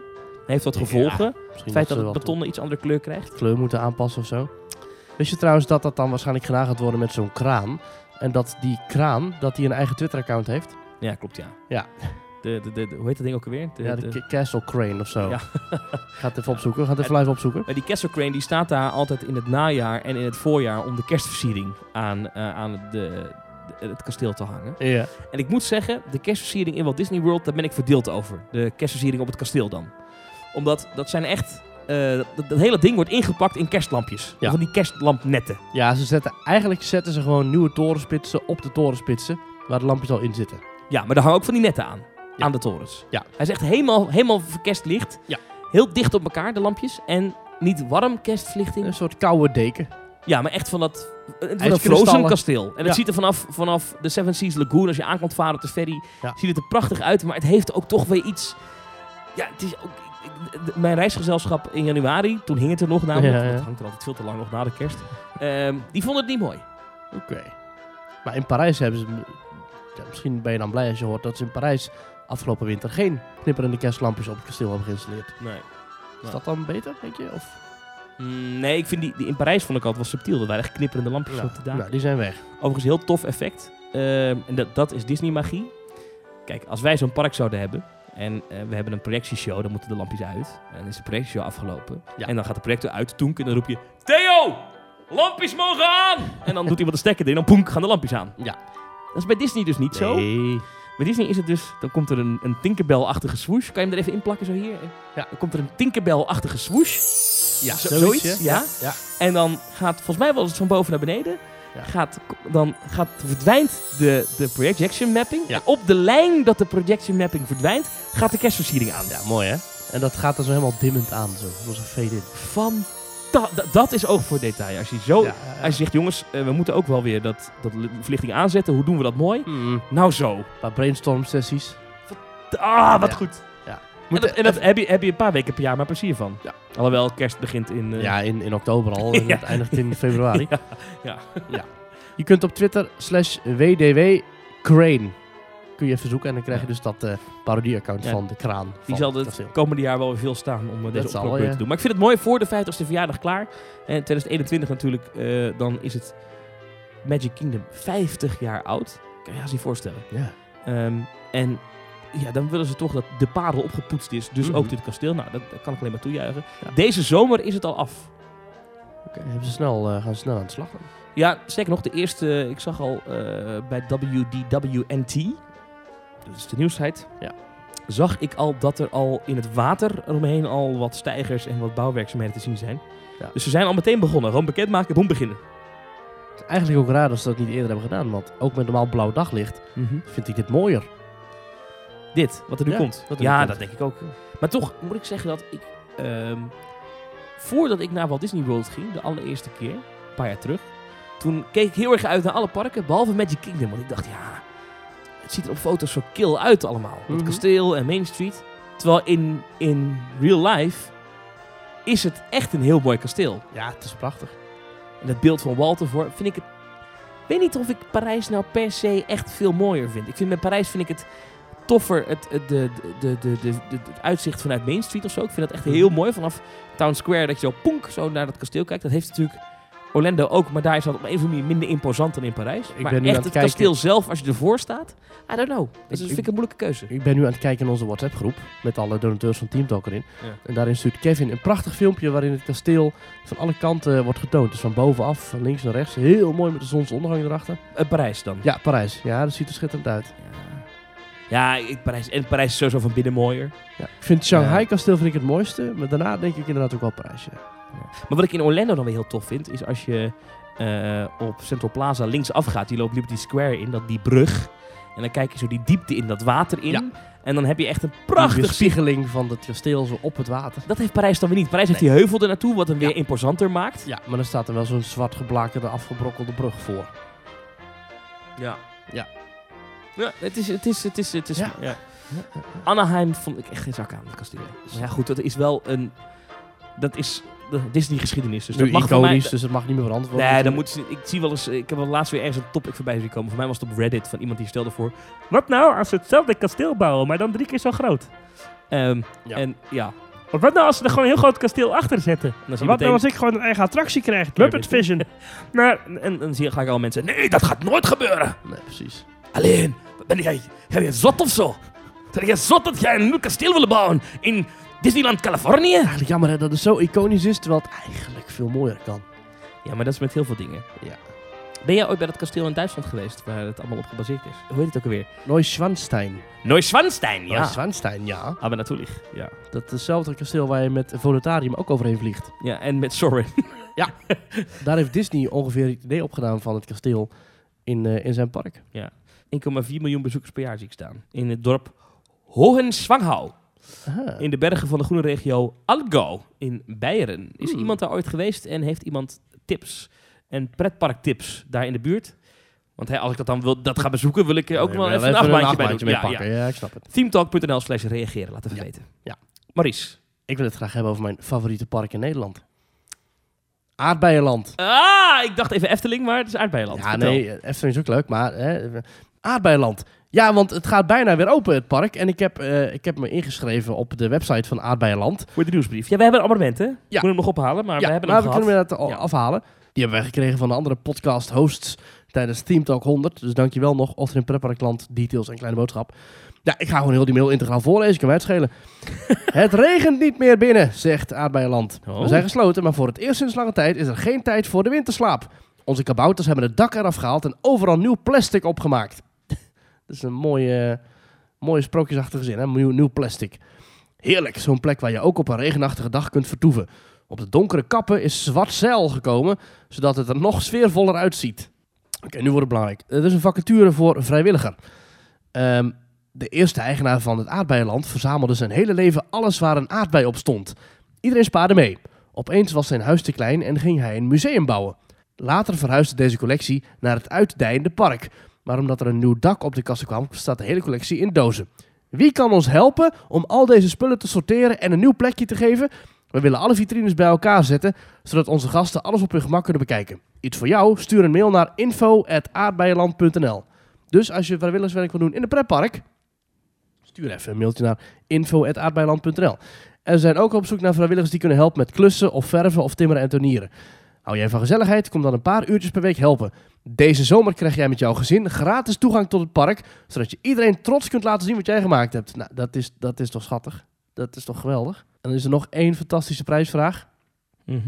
C: Heeft dat
B: Ja,
C: gevolgen?
B: Misschien
C: het feit
B: ze
C: dat het
B: wel
C: beton een iets andere kleur krijgt?
B: de kleur moeten aanpassen of zo. Wist je trouwens dat dat dan waarschijnlijk gedaan gaat worden met zo'n kraan? En dat die kraan, dat die een eigen Twitter-account heeft?
C: Ja, klopt, ja.
B: Ja.
C: De, de, de, de- hoe heet dat ding ook alweer? De,
B: ja, de,
C: de-
B: Ca- Castle Crane of zo.
C: Ja.
B: Gaat even opzoeken, gaat even live opzoeken.
C: maar die Castle Crane die staat daar altijd in het najaar en in het voorjaar om de kerstversiering aan, eh, aan de, de- het kasteel te hangen.
B: Ja.
C: En ik moet zeggen, de kerstversiering in Walt Disney World, daar ben ik verdeeld over. De kerstversiering op het kasteel dan. Omdat dat zijn echt... eh, dat, dat hele ding wordt ingepakt in kerstlampjes.
B: Ja.
C: Van die kerstlampnetten.
B: ja, ze zetten, eigenlijk zetten ze gewoon nieuwe torenspitsen op de torenspitsen. Waar de lampjes al in zitten.
C: Ja, maar daar hangen ook van die netten aan.
B: Ja.
C: Aan de torens.
B: Ja.
C: Hij is echt helemaal, helemaal kerstlicht.
B: Ja.
C: Heel dicht op elkaar, de lampjes. En niet warm kerstverlichting.
B: Een soort koude deken.
C: Ja, maar echt van dat... Het wordt een
B: IJskristallen.
C: Frozen kasteel. En
B: Ja.
C: het ziet er vanaf, vanaf de Seven Seas Lagoon, als je aankomt varen op de ferry,
B: Ja.
C: ziet het er prachtig uit. Maar het heeft ook toch weer iets... Ja, het is ook... ik- ik- de- Mijn reisgezelschap in januari, toen hing het er nog namelijk.
B: Ja,
C: want
B: ja.
C: Het hangt er altijd veel te lang nog na de kerst. Ehm, die vonden het niet mooi.
B: Oké. Maar in Parijs hebben ze... Ja, misschien ben je dan blij als je hoort dat ze in Parijs afgelopen winter geen knipperende kerstlampjes op het kasteel hebben geïnstalleerd.
C: Nee.
B: Is dat dan beter, denk je? Of,
C: Mm, nee, ik vind die, die... In Parijs vond ik altijd wel subtiel. Er waren echt knipperende lampjes
B: nou,
C: op de daken.
B: nou, die zijn weg.
C: Overigens heel tof effect. Ehm, en dat, dat is Disney magie. Kijk, als wij zo'n park zouden hebben en eh, we hebben een projectieshow, dan moeten de lampjes uit. En dan is de projectieshow afgelopen.
B: Ja.
C: En dan gaat de projector uit, toenk, en dan roep je... Theo! Lampjes mogen aan! En dan doet iemand de stekker erin en dan poenk, gaan de lampjes aan.
B: Ja.
C: Dat is bij Disney dus niet zo.
B: Nee.
C: Bij Disney is het dus, dan komt er een, een Tinkerbell-achtige swoosh. Kan je hem er even in plakken zo hier?
B: Ja.
C: Dan komt er een Tinkerbell-achtige swoosh.
B: Ja,
C: Zo-
B: zoiets,
C: zoiets,
B: ja.
C: ja. En dan gaat, volgens mij was het van boven naar beneden.
B: Ja.
C: Gaat, dan gaat, verdwijnt de, de projection mapping.
B: Ja.
C: En op de lijn dat de projection mapping verdwijnt, gaat de kerstversiering aan.
B: Ja, mooi hè? En dat gaat dan zo helemaal dimmend aan, zo. Als een fade in.
C: da- da- dat is oog voor detail. Als je, zo,
B: Ja,
C: als je zegt, jongens, eh, we moeten ook wel weer dat, dat li- verlichting aanzetten. Hoe doen we dat mooi?
B: Mm, een
C: Nou zo.
B: paar brainstorm sessies.
C: Ah, wat
B: Ja.
C: goed.
B: Ja.
C: En dat, en dat heb, je, heb je een paar weken per jaar maar plezier van.
B: Ja.
C: Alhoewel, kerst begint in... eh,
B: Ja, in, in oktober al. En
C: Ja.
B: het eindigt in februari.
C: Ja, ja.
B: Ja. Je kunt op Twitter slash WDW Crane. Kun je even zoeken en dan krijg je dus dat eh parodie-account
C: Ja.
B: van de kraan.
C: Die
B: van
C: zal het
B: Kasteel.
C: komende jaar wel weer veel staan om eh, deze
B: Dat zal,
C: oproep weer
B: ja.
C: te doen. Maar ik vind het mooi voor de 50ste verjaardag klaar. En 2021 natuurlijk, eh, dan is het Magic Kingdom 50 jaar oud. Kan je je haast niet voorstellen.
B: Ja.
C: Ehm, en ja, dan willen ze toch dat de parel opgepoetst is. Dus
B: Mhm.
C: ook dit kasteel. Nou, dat, dat kan ik alleen maar toejuichen.
B: Ja.
C: Deze zomer is het al af.
B: Oké, hebben ze snel, eh, gaan ze snel aan de slag. dan.
C: Ja, zeker nog, de eerste, ik zag al eh, bij WDWNT, dat is de nieuwsheid,
B: Ja.
C: zag ik al dat er al in het water eromheen al wat stijgers en wat bouwwerkzaamheden te zien zijn.
B: Ja.
C: Dus ze zijn al meteen begonnen, gewoon bekendmaken, boem beginnen.
B: Het is eigenlijk ook raar dat ze dat niet eerder hebben gedaan. Want ook met normaal blauw daglicht vind ik dit mooier.
C: Dit, wat er nu
B: Ja,
C: komt.
B: wat er nu
C: ja,
B: komt.
C: dat denk ik ook. Maar toch moet ik zeggen dat ik, ehm, voordat ik naar Walt Disney World ging, de allereerste keer, een paar jaar terug, toen keek ik heel erg uit naar alle parken, behalve Magic Kingdom. Want ik dacht, ja, het ziet er op foto's zo kil uit allemaal.
B: Mhm.
C: Het kasteel en Main Street. Terwijl in, in real life is het echt een heel mooi kasteel.
B: Ja, het is prachtig.
C: En het beeld van Walter voor vind ik het. Ik weet niet of ik Parijs nou per se echt veel mooier vind. Ik vind met Parijs vind ik het toffer. Het, het, de, de, de, de, de- het uitzicht vanuit Main Street of zo. Ik vind dat echt
B: Mhm.
C: heel mooi. Vanaf Town Square dat je zo poenk zo naar dat kasteel kijkt. Dat heeft natuurlijk Orlando ook. Maar daar is dat op een of andere manier minder imposant dan in Parijs.
B: Ik
C: maar
B: ben nu
C: echt
B: aan het kijken.
C: kasteel zelf als je ervoor staat. I don't know. Dat is-
B: ik-
C: vind ik een moeilijke keuze.
B: Ik ben nu aan het kijken in onze WhatsApp-groep. Met alle donateurs van Team Talk erin.
C: Ja.
B: En daarin stuurt Kevin een prachtig filmpje waarin het kasteel van alle kanten wordt getoond. Dus van bovenaf, van links naar rechts. Heel mooi met de zonsondergang erachter.
C: Eh, Parijs dan.
B: Ja, Parijs. Ja, dat ziet er schitterend uit.
C: Ja, ik, Parijs, en Parijs is sowieso van binnen mooier.
B: Ja. Ik vind het Shanghai-kasteel vind ik het mooiste. Maar daarna denk ik inderdaad ook wel Parijs. ja.
C: Maar wat ik in Orlando dan weer heel tof vind, is als je eh, op Central Plaza linksaf gaat, je loopt Liberty Square in, dat die brug. En dan kijk je zo die diepte in dat water in.
B: Ja.
C: En dan heb je echt een
B: Die
C: prachtig zicht.
B: weerspiegeling van het kasteel zo op het water.
C: Dat heeft Parijs dan weer niet. Parijs heeft die heuvel er naartoe, wat hem weer imposanter maakt.
B: Ja, maar dan staat er wel zo'n zwart geblakerde afgebrokkelde brug voor.
C: Ja.
B: Ja.
C: Ja, het is, het is, het is, het is,
B: Ja.
C: ja. Anaheim vond ik echt geen zak aan, het kasteel. Maar ja, goed, dat is wel een, dat is de Disney-geschiedenis. Dus
B: Dus nu
C: dat mag
B: iconisch,
C: voor mij,
B: dus het mag niet meer veranderd worden.
C: Nee, dan
B: natuurlijk.
C: moet ze, ik zie wel eens. Ik heb wel laatst weer ergens een topic voorbij zien komen. Voor mij was het op Reddit van iemand die stelde voor. Wat nou als ze hetzelfde kasteel bouwen, maar dan drie keer zo groot? Ehm,
B: Ja.
C: En ja.
D: Maar wat nou als ze er gewoon een heel groot kasteel achter zetten?
C: En dan zie je
D: Wat nou als
C: meteen,
D: ik gewoon een eigen attractie krijg? Muppet Vision.
C: maar, en, Nou, en dan zie je gelijk al mensen. Nee, dat gaat nooit gebeuren.
B: Nee, precies.
C: Alleen, ben jij, ben jij zot of zo? Ben jij zot dat jij een nieuw kasteel wil bouwen in Disneyland, Californië?
B: Eigenlijk jammer hè, dat het zo iconisch is, terwijl het eigenlijk veel mooier kan.
C: Ja, maar dat is met heel veel dingen.
B: Ja.
C: Ben jij ooit bij dat kasteel in Duitsland geweest waar het allemaal op gebaseerd is? Hoe heet het ook alweer?
B: Neuschwanstein.
C: Neuschwanstein, ja.
B: Neuschwanstein, ja.
C: Aber natuurlijk, ja.
B: Dat is hetzelfde kasteel waar je met Volutarium ook overheen vliegt.
C: Ja, en met Soren.
B: Daar heeft Disney ongeveer het idee opgedaan van het kasteel in, eh, in zijn park.
C: 1,4 miljoen bezoekers per jaar zie ik staan. In het dorp Hohenschwangau.
B: Aha.
C: In de bergen van de groene regio Algo in Beieren. Is
B: Hmm.
C: iemand daar ooit geweest en heeft iemand tips en pretparktips daar in de buurt? Want hè, als ik dat dan wil, dat ga bezoeken, wil ik er ook
B: Nee,
C: wel
B: maar
C: even een afbaantje bij doen.
B: mee
C: Ja,
B: pakken.
C: ja.
B: Ja. ik snap het.
C: Teamtalk.nl slash reageren, laten we
B: Ja.
C: weten.
B: Ja.
C: Maurice.
B: Ik wil het graag hebben over mijn favoriete park in Nederland. Aardbeienland.
C: Ah, ik dacht even Efteling, maar het is aardbeienland.
B: Ja,
C: Vertel.
B: nee, eh, Efteling is ook leuk, maar hè, eh, Aardbeienland. Ja, want het gaat bijna weer open, het park. En ik heb, eh, ik heb me ingeschreven op de website van Aardbeienland.
C: Voor de nieuwsbrief. Ja, we hebben een abonnement, hè? We
B: Ja.
C: moeten hem nog ophalen, maar we
B: ja,
C: hebben
B: maar
C: hem
B: we
C: gehad.
B: kunnen dat al
C: Ja.
B: afhalen. Die hebben wij gekregen van de andere podcast hosts tijdens Team Talk 100. Dus dankjewel nog, Otter in Prepparkland, details en kleine boodschap. Ja, ik ga gewoon heel die mail integraal voorlezen, ik kan mij het schelen. het regent niet meer binnen, zegt Aardbeienland.
C: Oh.
B: We zijn gesloten, maar voor het eerst sinds lange tijd is er geen tijd voor de winterslaap. Onze kabouters hebben het dak eraf gehaald en overal nieuw plastic opgemaakt. Dat is een mooie, mooie sprookjesachtige zin, hè? Nieuw, nieuw plastic. Heerlijk, zo'n plek waar je ook op een regenachtige dag kunt vertoeven. Op de donkere kappen is zwart zeil gekomen, zodat het er nog sfeervoller uitziet. Oké, nu wordt het belangrijk. Er is een vacature voor vrijwilliger. Ehm, de eerste eigenaar van het aardbeienland verzamelde zijn hele leven alles waar een aardbei op stond. Iedereen spaarde mee. Opeens was zijn huis te klein en ging hij een museum bouwen. Later verhuisde deze collectie naar het uitdijende park. Maar omdat er een nieuw dak op de kassen kwam, staat de hele collectie in dozen. Wie kan ons helpen om al deze spullen te sorteren en een nieuw plekje te geven? We willen alle vitrines bij elkaar zetten, zodat onze gasten alles op hun gemak kunnen bekijken. Iets voor jou? Stuur een mail naar info.aardbeienland.nl Dus als je vrijwilligerswerk wil doen in een pretpark, stuur even een mailtje naar info.aardbeienland.nl En we zijn ook op zoek naar vrijwilligers die kunnen helpen met klussen of verven of timmeren en tonieren. Hou jij van gezelligheid? Kom dan een paar uurtjes per week helpen. Deze zomer krijg jij met jouw gezin gratis toegang tot het park, zodat je iedereen trots kunt laten zien wat jij gemaakt hebt. Nou, dat is, dat is toch schattig? Dat is toch geweldig? En dan is er nog één fantastische prijsvraag.
C: Mhm.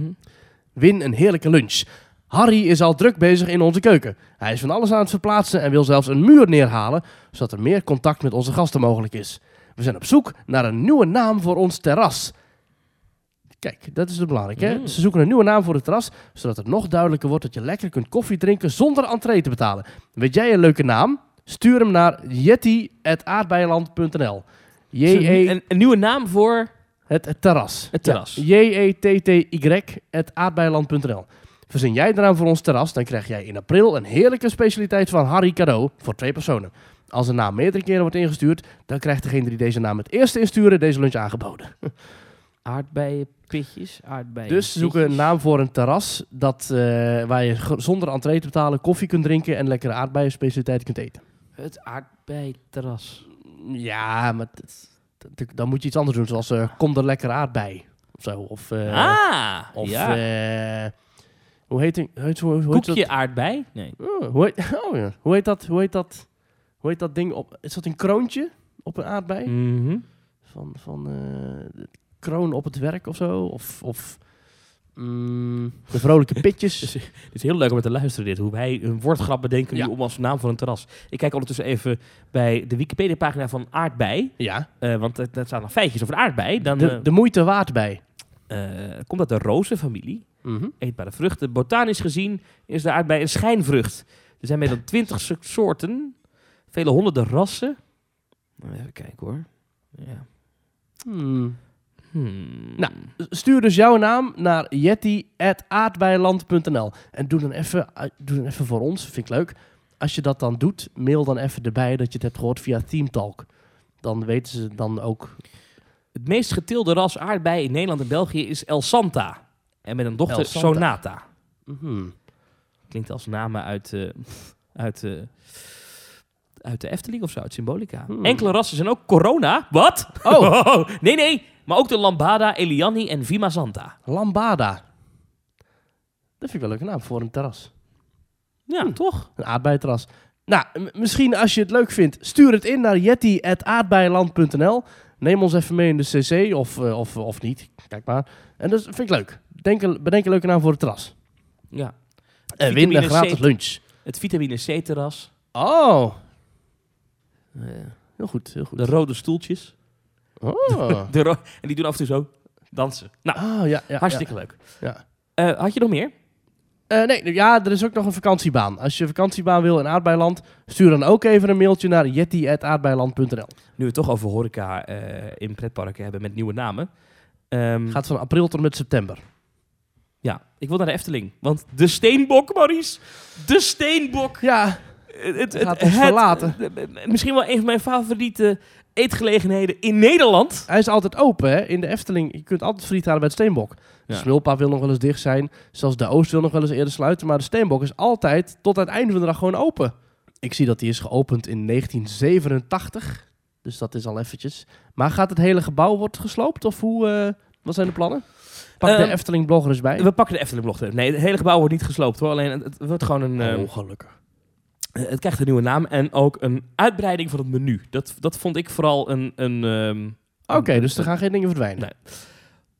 B: Win een heerlijke lunch. Harry is al druk bezig in onze keuken. Hij is van alles aan het verplaatsen en wil zelfs een muur neerhalen, zodat er meer contact met onze gasten mogelijk is. We zijn op zoek naar een nieuwe naam voor ons terras. Kijk, dat is het belangrijk. Hè?
C: Mm.
B: Ze zoeken een nieuwe naam voor het terras, zodat het nog duidelijker wordt dat je lekker kunt koffie drinken zonder entree te betalen. Weet jij een leuke naam? Stuur hem naar jetty.aardbeiland.nl. J-E-
C: Een, een nieuwe naam voor
B: het, het terras.
C: Het terras.
B: Ja, E J-E-T-T-Y, het aardbeiland.nl. Verzin jij de naam voor ons terras, dan krijg jij in april een heerlijke specialiteit van Harry cadeau voor twee personen. Als een naam meerdere keren wordt ingestuurd, dan krijgt degene die deze naam het eerste insturen deze lunch aangeboden.
C: aardbeienpitjes. Aardbeien
B: Dus zoek een naam voor een terras dat, eh, waar je gr- zonder entree te betalen koffie kunt drinken en lekkere aardbeien specialiteit kunt eten.
C: Het aardbeienterras.
B: Ja, maar dat- dat- dan moet je iets anders doen, zoals eh, kom er lekker aardbei of zo. Of, eh,
C: ah,
B: Of
C: ja.
B: eh, hoe heet die- hoe heet, hoe, hoe heet
C: Koekje aardbei? Nee.
B: dat? Oh, hoe heet, oh ja. hoe heet dat? Hoe heet dat? Hoe heet dat ding op? Is dat een kroontje op een aardbei? Mhm. Van van eh, de kroon op het werk of zo? Of of mm, de vrolijke pitjes?
C: Het is heel leuk om naar te luisteren dit. Hoe wij een woordgrap bedenken
B: Ja.
C: nu om als naam voor een terras. Ik kijk ondertussen even bij de Wikipedia pagina van aardbei.
B: ja.
C: eh, want er- daar staan nog feitjes over een aardbei. Dan
B: De, de moeite waard bij.
C: eh, eh, komt uit de rozenfamilie.
B: Mhm.
C: Eetbare vruchten. Botanisch gezien is de aardbei een schijnvrucht. Er zijn meer dan twintig soorten. Vele honderden rassen. Nou, Even kijken hoor. Ja.
B: Hmm.
C: Hmm.
B: Nou, Stuur dus jouw naam naar jetty.aardbeiland.nl. En doe dan, even, eh, doe dan even voor ons, vind ik leuk. Als je dat dan doet, mail dan even erbij dat je het hebt gehoord via Teamtalk. Dan weten ze dan ook
C: Het meest geteelde ras aardbei in Nederland en België is El Santa. En met een
B: El
C: dochter
B: Santa.
C: Sonata.
B: mhm,
C: Klinkt als namen uit, eh, uit, eh, uit de Efteling of zo, uit Symbolica.
B: Hmm.
C: Enkele rassen zijn ook Corona. Wat?
B: Oh.
C: nee, nee. Maar ook de Lambada, Eliani en Vima Santa.
B: Lambada. Dat vind ik wel een leuke naam voor een terras.
C: Ja, toch?
B: Een aardbeienterras. Nou, m- misschien als je het leuk vindt, stuur het in naar jetty.aardbeiland.nl. Neem ons even mee in de cc of, eh, of, of niet. Kijk maar. En dat vind ik leuk. Denk een, bedenk een leuke naam voor het terras.
C: Ja.
B: En win een
C: Vitamine C.
B: gratis lunch.
C: Het vitamine C-terras.
B: Oh. Heel goed, heel goed.
C: De rode stoeltjes.
B: Oh.
C: De ro- en die doen af en toe zo dansen. Nou,
B: Ah, ja, ja,
C: hartstikke leuk.
B: Ja.
C: Eh, had je nog meer?
B: Eh, nee, ja, er is ook nog een vakantiebaan. Als je een vakantiebaan wil in Aardbeiland, stuur dan ook even een mailtje naar jetty.aardbeiland.nl.
C: Nu we het toch over horeca eh, in pretparken hebben met nieuwe namen. Ehm,
B: Gaat van april tot en met september.
C: Ja, ik wil naar de Efteling. Want de steenbok, Maurice. De steenbok.
B: Ja,
C: Het, het,
B: Gaat ons verlaten.
C: het- misschien wel een van mijn favoriete eetgelegenheden in Nederland.
B: hij is altijd open hè? in de Efteling. Je kunt altijd friet halen bij het Steenbok. De
C: Ja.
B: Smulpa wil nog wel eens dicht zijn. Zelfs de Oost wil nog wel eens eerder sluiten. Maar de Steenbok is altijd tot aan het einde van de dag gewoon open. Ik zie dat die is geopend in 1987. Dus dat is al eventjes. Maar gaat het hele gebouw worden gesloopt? Of hoe, eh, wat zijn de plannen? Pak de
C: Ehm,
B: Efteling blogger eens bij.
C: We pakken de Efteling blog. Nee, het hele gebouw wordt niet gesloopt hoor. Alleen het, het wordt gewoon een. eh,
B: Ongelukkig.
C: het krijgt een nieuwe naam en ook een uitbreiding van het menu. Dat, dat vond ik vooral een. een ehm,
B: Oké, dus er gaan geen dingen verdwijnen.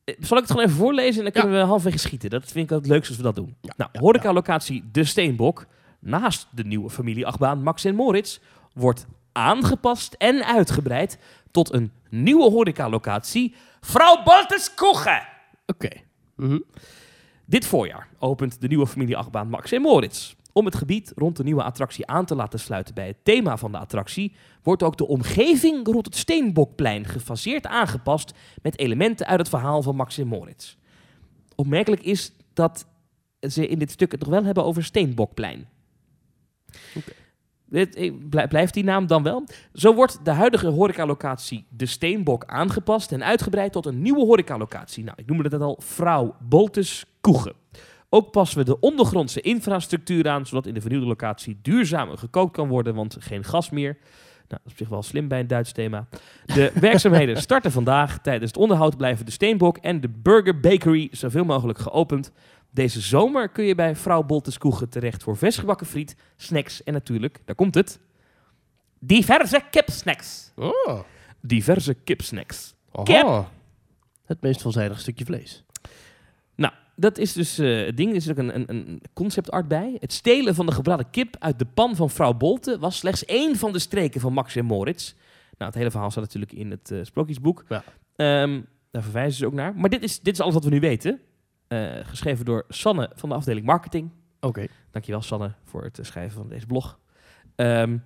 C: Nee. eh, zal ik het gewoon even voorlezen en dan
B: Ja.
C: kunnen we halfweg schieten. Dat vind ik het leukste als we dat doen. nou,
B: ja,
C: horeca-locatie De Steenbok, naast de nieuwe familieachtbaan Max en Moritz, wordt aangepast en uitgebreid tot een nieuwe horeca-locatie, Vrouw Baltes Koegen.
B: Oké. Mhm.
C: Dit voorjaar opent de nieuwe familieachtbaan Max en Moritz. Om het gebied rond de nieuwe attractie aan te laten sluiten bij het thema van de attractie, wordt ook de omgeving rond het Steenbokplein gefaseerd aangepast met elementen uit het verhaal van Max en Moritz. Opmerkelijk is dat ze in dit stuk het nog wel hebben over Steenbokplein.
B: Oké.
C: Dit- eh, blij- Blijft die naam dan wel? Zo wordt de huidige horecalocatie de Steenbok aangepast en uitgebreid tot een nieuwe horecalocatie. Nou, ik noemde dat al vrouw Boltes Koegen. Ook passen we de ondergrondse infrastructuur aan, zodat in de vernieuwde locatie duurzamer gekookt kan worden, want geen gas meer. Nou, dat is op zich wel slim bij een Duits thema. De werkzaamheden starten vandaag. Tijdens het onderhoud blijven de Steenbok en de Burger Bakery zoveel mogelijk geopend. Deze zomer kun je bij vrouw Boltes Koegen terecht voor versgebakken friet, snacks en natuurlijk, daar komt het, diverse kipsnacks.
B: Oh.
C: Diverse kipsnacks.
B: Aha.
C: Kip.
B: Het meest veelzijdig stukje vlees.
C: Nou, dat is dus eh, het ding. Er is ook een, een, een concept art bij. Het stelen van de gebraden kip uit de pan van vrouw Bolte was slechts één van de streken van Max en Moritz. Nou, het hele verhaal staat natuurlijk in het eh, sprookjesboek.
B: Ja.
C: Ehm, daar verwijzen ze ook naar. Maar dit is, dit is alles wat we nu weten. Eh, geschreven door Sanne van de afdeling marketing.
B: Oké.
C: Dankjewel Sanne voor het eh, schrijven van deze blog. Ehm,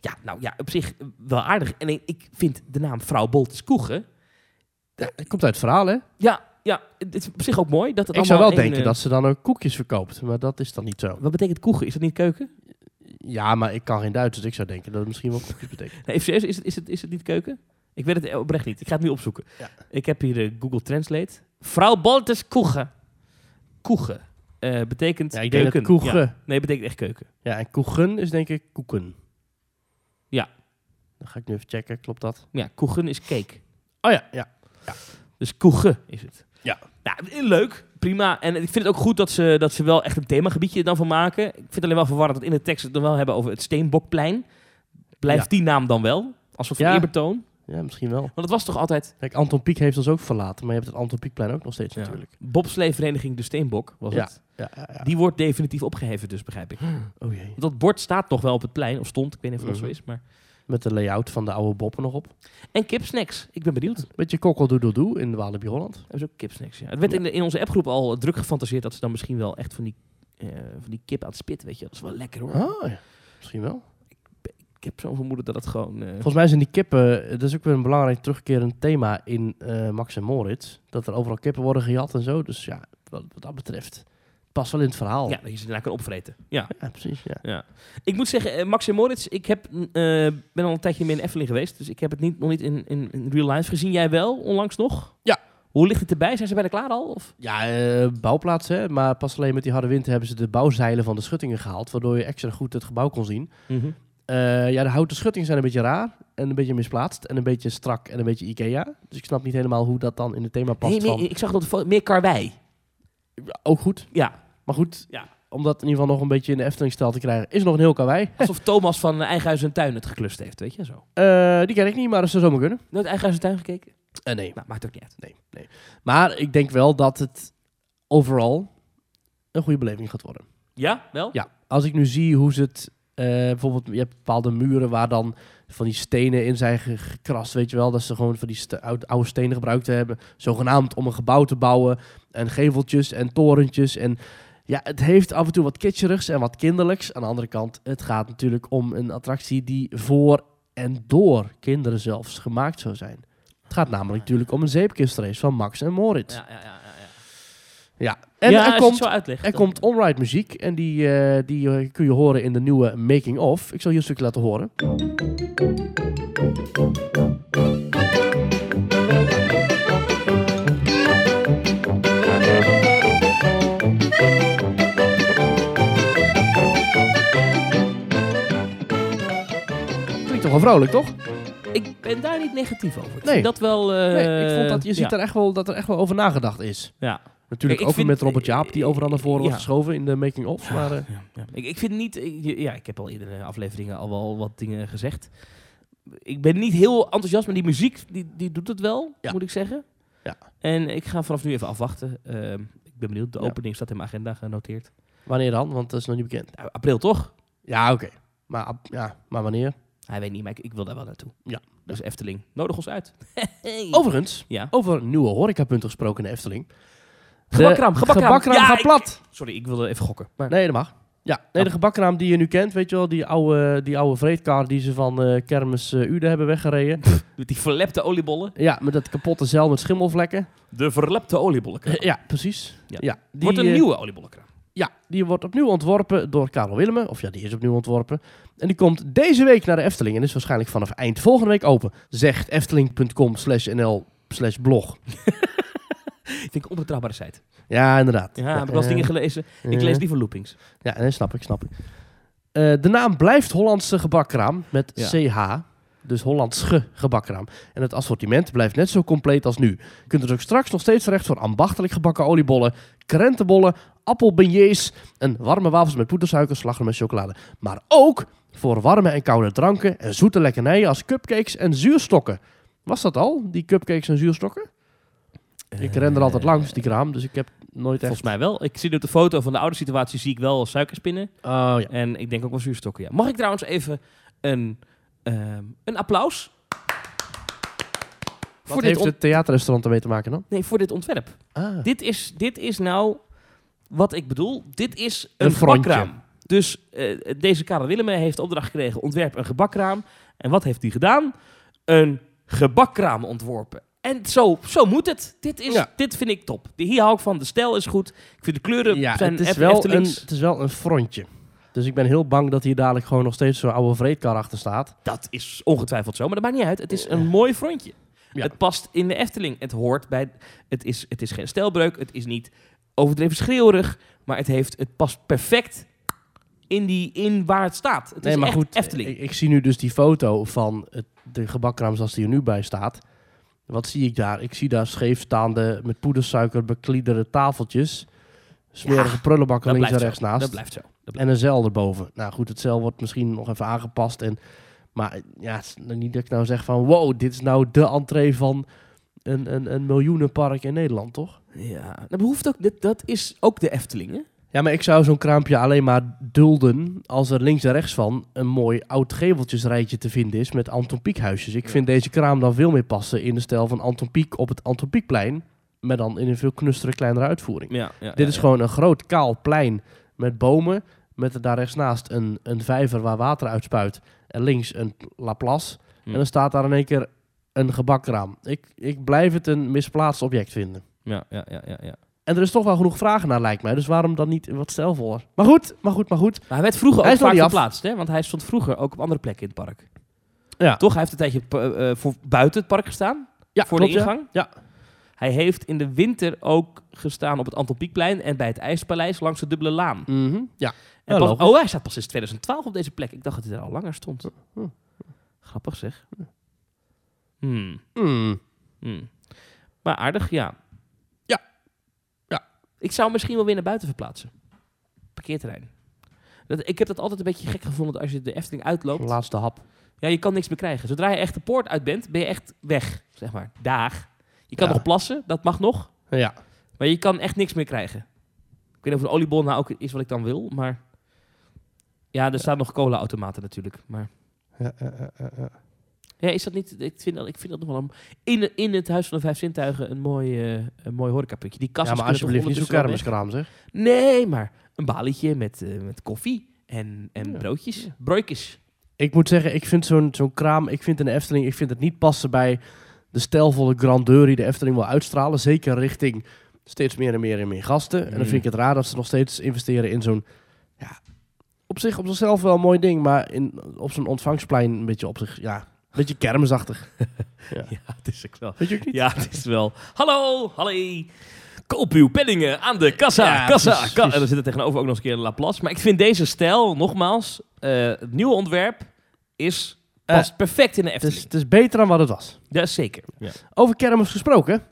C: ja, nou ja, op zich wel aardig. En ik- ik vind de naam vrouw Boltes Koegen...
B: Het komt uit het verhaal, hè?
C: Ja, ja, het is op zich ook mooi. Dat het
B: Ik zou wel
C: allemaal één,
B: denken
C: eh,
B: dat ze dan ook koekjes verkoopt, maar dat is dan niet zo.
C: Wat betekent koegen? Is dat niet keuken?
B: Ja, maar ik kan geen Duits, dus ik zou denken dat het misschien wel koekjes betekent.
C: Nee, even serieus, is het, is, het, is het niet keuken? Ik weet het oprecht niet. Ik ga het nu opzoeken.
B: Ja.
C: Ik heb hier de Google Translate. Vrouw Boltes koegen. Koegen. eh, betekent
B: Ja, ik denk
C: keuken.
B: dat koegen.
C: Ja.
B: Ja.
C: Nee, betekent echt keuken.
B: en koegen is denk ik koeken.
C: Ja.
B: Dan ga ik nu even checken, klopt dat?
C: Ja, koegen is cake.
B: Oh ja, ja.
C: Dus koegen is het.
B: Ja.
C: Nou, leuk. Prima. En ik vind het ook goed dat ze, dat ze wel echt een themagebiedje dan van maken. Ik vind het alleen wel verwarrend dat in de tekst het dan wel hebben over het Steenbokplein. Blijft
B: Ja.
C: die naam dan wel? Als soort van
B: Ja.
C: eerbetoon?
B: Ja, misschien wel.
C: Want het was toch altijd...
B: Kijk, Anton Pieck heeft ons ook verlaten, maar je hebt het Anton Pieckplein ook nog steeds
C: Ja.
B: natuurlijk.
C: Bobsleevereniging De Steenbok was
B: Ja.
C: het.
B: Ja, ja, ja.
C: Die wordt definitief opgeheven dus, begrijp ik. Want
B: Oh jee.
C: dat bord staat nog wel op het plein, of stond, ik weet niet of het nog zo
B: Mhm.
C: is. Maar...
B: Met de layout van de oude boppen nog op.
C: En kipsnacks, ik ben benieuwd.
B: Beetje kokkeldoedeldoe in Walibi Holland.
C: Dat is ook kipsnacks, ja. Het werd in, de- in onze appgroep al druk gefantaseerd dat ze dan misschien wel echt van die, eh, van die kip aan het spit, weet je. Dat is wel lekker hoor.
B: Ah, ja. Misschien wel.
C: Ik heb zo'n vermoeden dat dat gewoon... eh,
B: Volgens mij zijn die kippen, eh, dat is ook weer een belangrijk terugkerend thema in eh, Max en Moritz. Dat er overal kippen worden gejat en zo. Dus ja, wat, wat dat betreft, past wel in het verhaal.
C: ja, dat je ze daarna kan opvreten. Ja.
B: Ja, precies. Ja.
C: Ik moet zeggen, eh, Max en Moritz, ik heb, mm, eh, ben al een tijdje meer in Effeling geweest. Dus ik heb het niet, nog niet in, in, in real life gezien. Jij wel, onlangs nog?
B: Ja.
C: Hoe ligt het erbij? Zijn ze bijna klaar al? Of?
B: Ja, eh, bouwplaats hè. Maar pas alleen met die harde wind hebben ze de bouwzeilen van de schuttingen gehaald. Waardoor je extra goed het gebouw kon zien. Eh, ja, de houten schuttingen zijn een beetje raar. En een beetje misplaatst. En een beetje strak. En een beetje Ikea. Dus ik snap niet helemaal hoe dat dan in het thema past.
C: Nee, nee,
B: van,
C: ik zag dat fo- meer karwei.
B: ook goed.
C: Ja,
B: Maar goed,
C: Ja.
B: om dat in ieder geval nog een beetje in de Efteling-stijl te krijgen, is er nog een heel karwei.
C: Alsof Thomas van eh, Eigen Huis en Tuin het geklust heeft, weet je zo.
B: Eh, die ken ik niet, maar dat zou zomaar kunnen.
C: Nooit Eigen Huis en Tuin gekeken?
B: Eh, nee.
C: Nou, maakt ook niet uit.
B: Nee, nee. Maar ik denk wel dat het overal een goede beleving gaat worden.
C: Ja, wel?
B: Ja, als ik nu zie hoe ze het... eh, bijvoorbeeld, je hebt bepaalde muren waar dan van die stenen in zijn ge- gekrast, weet je wel. Dat ze gewoon van die ste- oud- oude stenen gebruikt hebben. Zogenaamd om een gebouw te bouwen. En geveltjes en torentjes. En ja, het heeft af en toe wat kitscherigs en wat kinderlijks. Aan de andere kant, het gaat natuurlijk om een attractie die voor en door kinderen zelfs gemaakt zou zijn. Het gaat namelijk natuurlijk om een zeepkistrace van Max en Moritz.
C: Ja, ja, ja. ja, ja.
B: En
C: ja, als
B: er
C: je het
B: komt
C: zo uitlegt.
B: er
C: dan-
B: komt onride muziek en die, eh, die eh, kun je horen in de nieuwe Making Of. Ik zal hier een stukje laten horen. Klinkt toch wel vrolijk, toch?
C: Ik ben daar niet negatief over. Ik
B: Nee.
C: vind dat wel... eh,
B: nee, ik vond dat je ziet
C: ja.
B: er echt wel, dat er echt wel over nagedacht is.
C: Ja.
B: Natuurlijk
C: Kijk, ik
B: ook weer met
C: vind-
B: Robert Jaap, die overal naar voren wordt
C: Ja.
B: geschoven in de Making Of. Maar, eh,
C: Ja. Ik, ik vind niet... Ik, ja, ik heb al eerdere afleveringen al wel wat dingen gezegd. Ik ben niet heel enthousiast, maar die muziek die, die doet het wel,
B: Ja.
C: moet ik zeggen.
B: Ja.
C: En ik ga vanaf nu even afwachten. Ehm, ik ben benieuwd. De
B: Ja.
C: opening staat in mijn agenda genoteerd.
B: wanneer dan? Want dat is nog niet bekend.
C: Nou, april toch?
B: Ja, oké. Maar, ab- ja, maar wanneer?
C: Hij weet niet, maar ik, ik wil daar wel naartoe.
B: Ja.
C: Dus Efteling, nodig ons uit. Oh,
B: Overigens,
C: Ja.
B: over nieuwe horecapunten gesproken in de Efteling. De
C: Gebakkraam, gebakkraam. Ja,
B: gaat
C: ik-
B: plat.
C: Sorry, ik wilde even gokken. Maar Oh.
B: Nee, dat mag. Ja, nee, de gebakkraam die je nu kent, weet je wel, die oude, die oude vreedkar die ze van eh, Kermis eh Uden hebben weggereden.
C: met die verlepte oliebollen.
B: ja, met dat kapotte zeil met schimmelvlekken.
C: De verlepte oliebollenkraan.
B: Eh, ja, precies.
C: Ja.
B: Ja. die,
C: Wordt een
B: eh,
C: nieuwe oliebollenkraan.
B: Ja, die wordt opnieuw ontworpen door Karel Willemen. Of ja, die is opnieuw ontworpen. En die komt deze week naar de Efteling en is waarschijnlijk vanaf eind volgende week open. Zegt efteling.com slash nl slash blog.
C: Ik vind ik een onbetrouwbare site.
B: Ja, inderdaad.
C: Ja, heb ik wel eens
B: eh,
C: dingen gelezen. Ik
B: eh.
C: lees liever loopings.
B: Ja, nee, snap ik, snap ik. Eh, de naam blijft Hollandse gebakkraam met CH.
C: Ja.
B: Dus Hollandse gebakkraam. En het assortiment blijft net zo compleet als nu. Je kunt dus ook straks nog steeds terecht voor ambachtelijk gebakken oliebollen, krentenbollen, appelbeignets en warme wafels met poedersuiker, slagroom en chocolade. Maar ook voor warme en koude dranken en zoete lekkernijen als cupcakes en zuurstokken. Was dat al, die cupcakes en zuurstokken? Ik ren er altijd langs, die kraam, dus ik heb nooit echt...
C: Volgens mij wel. Ik zie op de foto van de oude situatie zie ik wel suikerspinnen.
B: Oh ja.
C: En ik denk ook wel zuurstokken. Ja. Mag ik trouwens even een, ehm, een applaus?
B: Wat
C: Voor dit,
B: heeft
C: ont-
B: het theaterrestaurant ermee te maken dan?
C: nee, voor dit ontwerp.
B: Ah.
C: Dit is, dit is nou wat ik bedoel. Dit is
B: Een
C: een
B: frontje.
C: gebakraam. Dus eh, deze Karel Willemen heeft opdracht gekregen: ontwerp een gebakraam. En wat heeft hij gedaan? Een gebakraam ontworpen. En zo, zo moet het. Dit, is,
B: Ja.
C: dit vind ik top. Hier hou ik van. De stijl is goed. Ik vind de kleuren
B: Ja,
C: zijn
B: het is,
C: Eft-
B: wel een,
C: Eftelings.
B: het is wel een frontje. Dus ik ben heel bang dat hier dadelijk gewoon nog steeds zo'n oude vreedkar achter staat.
C: Dat is ongetwijfeld zo, maar dat maakt niet uit. Het is een mooi frontje.
B: Ja.
C: Het past in de Efteling. Het hoort bij. Het is, het is geen stijlbreuk. Het is niet overdreven schreeuwerig. Maar het, heeft, het past perfect in, die, in waar het staat. Het
B: nee,
C: is
B: maar
C: echt
B: goed, eh,
C: Efteling.
B: Ik, ik zie nu dus die foto van het, de gebakkraam zoals die er nu bij staat. Wat zie ik daar? Ik zie daar scheefstaande, met poedersuiker bekliederde tafeltjes. Smerige prullenbakken
C: dat
B: links en
C: blijft
B: rechts
C: zo.
B: naast.
C: Dat blijft zo. Dat blijft-
B: En een zeil erboven. Nou goed, het zeil wordt misschien nog even aangepast. En, maar eh, ja, het is nog niet dat ik nou zeg van... wow, dit is nou de entree van een, een, een miljoenenpark in Nederland, toch?
C: Ja, dat hoeft ook. Dat, dat is ook de Efteling. Hè?
B: Ja, maar ik zou zo'n kraampje alleen maar dulden als er links en rechts van een mooi oud geveltjesrijtje te vinden is met Anton Pieckhuisjes. Ik vind deze kraam dan veel meer passen in de stijl van Anton Pieck op het Anton Pieckplein, maar dan in een veel knustere, kleinere uitvoering.
C: Ja, ja,
B: Dit
C: ja,
B: is
C: ja.
B: gewoon een groot kaal plein met bomen, met er daar rechtsnaast een, een vijver waar water uitspuit en links een Laplace.
C: Hm.
B: En dan staat daar in één keer een gebakkraam. Ik, ik blijf het een misplaatst object vinden.
C: Ja, ja, ja, ja, ja.
B: En er is toch wel genoeg vragen naar, lijkt mij. Dus waarom dan niet wat stijlvoller? Maar goed, maar goed, maar goed.
C: Maar hij werd vroeger
B: Hij
C: ook
B: is nog
C: vaak
B: niet af.
C: verplaatst. Hè? Want hij stond vroeger ook op andere plekken in het park.
B: Ja.
C: Toch? Hij heeft een tijdje eh, eh, voor buiten het park gestaan.
B: Ja,
C: voor
B: klopt,
C: de
B: ja.
C: ingang. Hij heeft in de winter ook gestaan op het Anton Pieckplein en bij het IJspaleis langs de Dubbele Laan.
B: Mhm, ja.
C: En
B: Ja,
C: pas-
B: logisch.
C: oh, hij staat pas sinds 2012 op deze plek. Ik dacht dat hij er al langer stond.
B: Hm.
C: Grappig zeg. Hmm.
B: Mm.
C: Hmm. Maar aardig, ja.
B: Ja. Ja.
C: Ik zou hem misschien wel weer naar buiten verplaatsen. Parkeerterrein. Dat, ik heb dat altijd een beetje gek gevonden dat als je de Efteling uitloopt.
B: Laatste hap.
C: Ja, je kan niks meer krijgen. Zodra je echt de poort uit bent, ben je echt weg. Zeg maar, daag. Je kan
B: Ja.
C: nog plassen, dat mag nog.
B: Ja.
C: Maar je kan echt niks meer krijgen. Ik weet niet of een oliebol nou ook is wat ik dan wil, maar... Ja, er staan nog cola-automaten natuurlijk, maar...
B: Ja, ja, ja, ja, ja.
C: Ja, is dat niet... Ik vind dat, ik vind dat nog wel een, in, in het Huis van de Vijf Zintuigen een mooi, eh een mooi horecapuntje. Die kast
B: Ja, maar alsjeblieft niet zo'n kermiskraam, zeg.
C: Nee, maar een balietje met, eh, met koffie en, en broodjes. Broikjes.
B: Ik moet zeggen, ik vind zo'n zo'n kraam, ik vind in de Efteling, ik vind het niet passen bij de stijlvolle grandeur die de Efteling wil uitstralen. Zeker richting steeds meer en meer en meer gasten. En
C: Mm.
B: dan vind ik het raar dat ze nog steeds investeren in zo'n, ja, op zich op zichzelf wel een mooi ding, maar in, op zo'n ontvangsplein een beetje op zich, ja, een beetje kermisachtig.
C: Ja, het is ook wel...
B: Weet je ook niet?
C: Ja, het is wel... Hallo, hallo. Koop uw penningen aan de kassa,
B: Ja,
C: kassa.
B: precies,
C: ka-
B: precies.
C: en er zit er tegenover ook nog eens een keer een Laplace. Maar ik vind deze stijl, nogmaals, eh, het nieuwe ontwerp is,
B: Eh,
C: past perfect in de
B: Het is,
C: Efteling.
B: het is beter dan wat het was.
C: Dat is zeker.
B: Over kermis gesproken.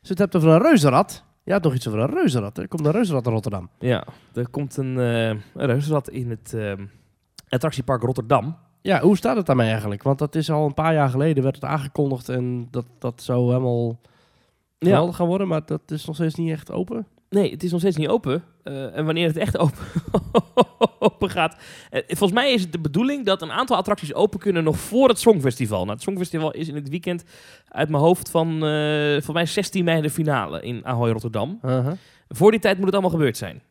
B: Ze het hebt over een reuzenrad. Je had nog iets over een reuzenrad. hè? Er komt een reuzenrad naar Rotterdam.
C: Ja, er komt een, eh een reuzenrad in het ehm, attractiepark Rotterdam.
B: Ja, hoe staat het daarmee eigenlijk? Want dat is al een paar jaar geleden werd het aangekondigd en dat, dat zou helemaal geweldig gaan worden. Maar dat is nog steeds niet echt open.
C: Nee, het is nog steeds niet open. Eh, en wanneer het echt open, open gaat. eh, volgens mij is het de bedoeling dat een aantal attracties open kunnen nog voor het Songfestival. Nou, het Songfestival is in het weekend uit mijn hoofd van eh volgens mij 16 mei de finale in Ahoy Rotterdam.
B: Uh-huh.
C: Voor die tijd moet het allemaal gebeurd zijn.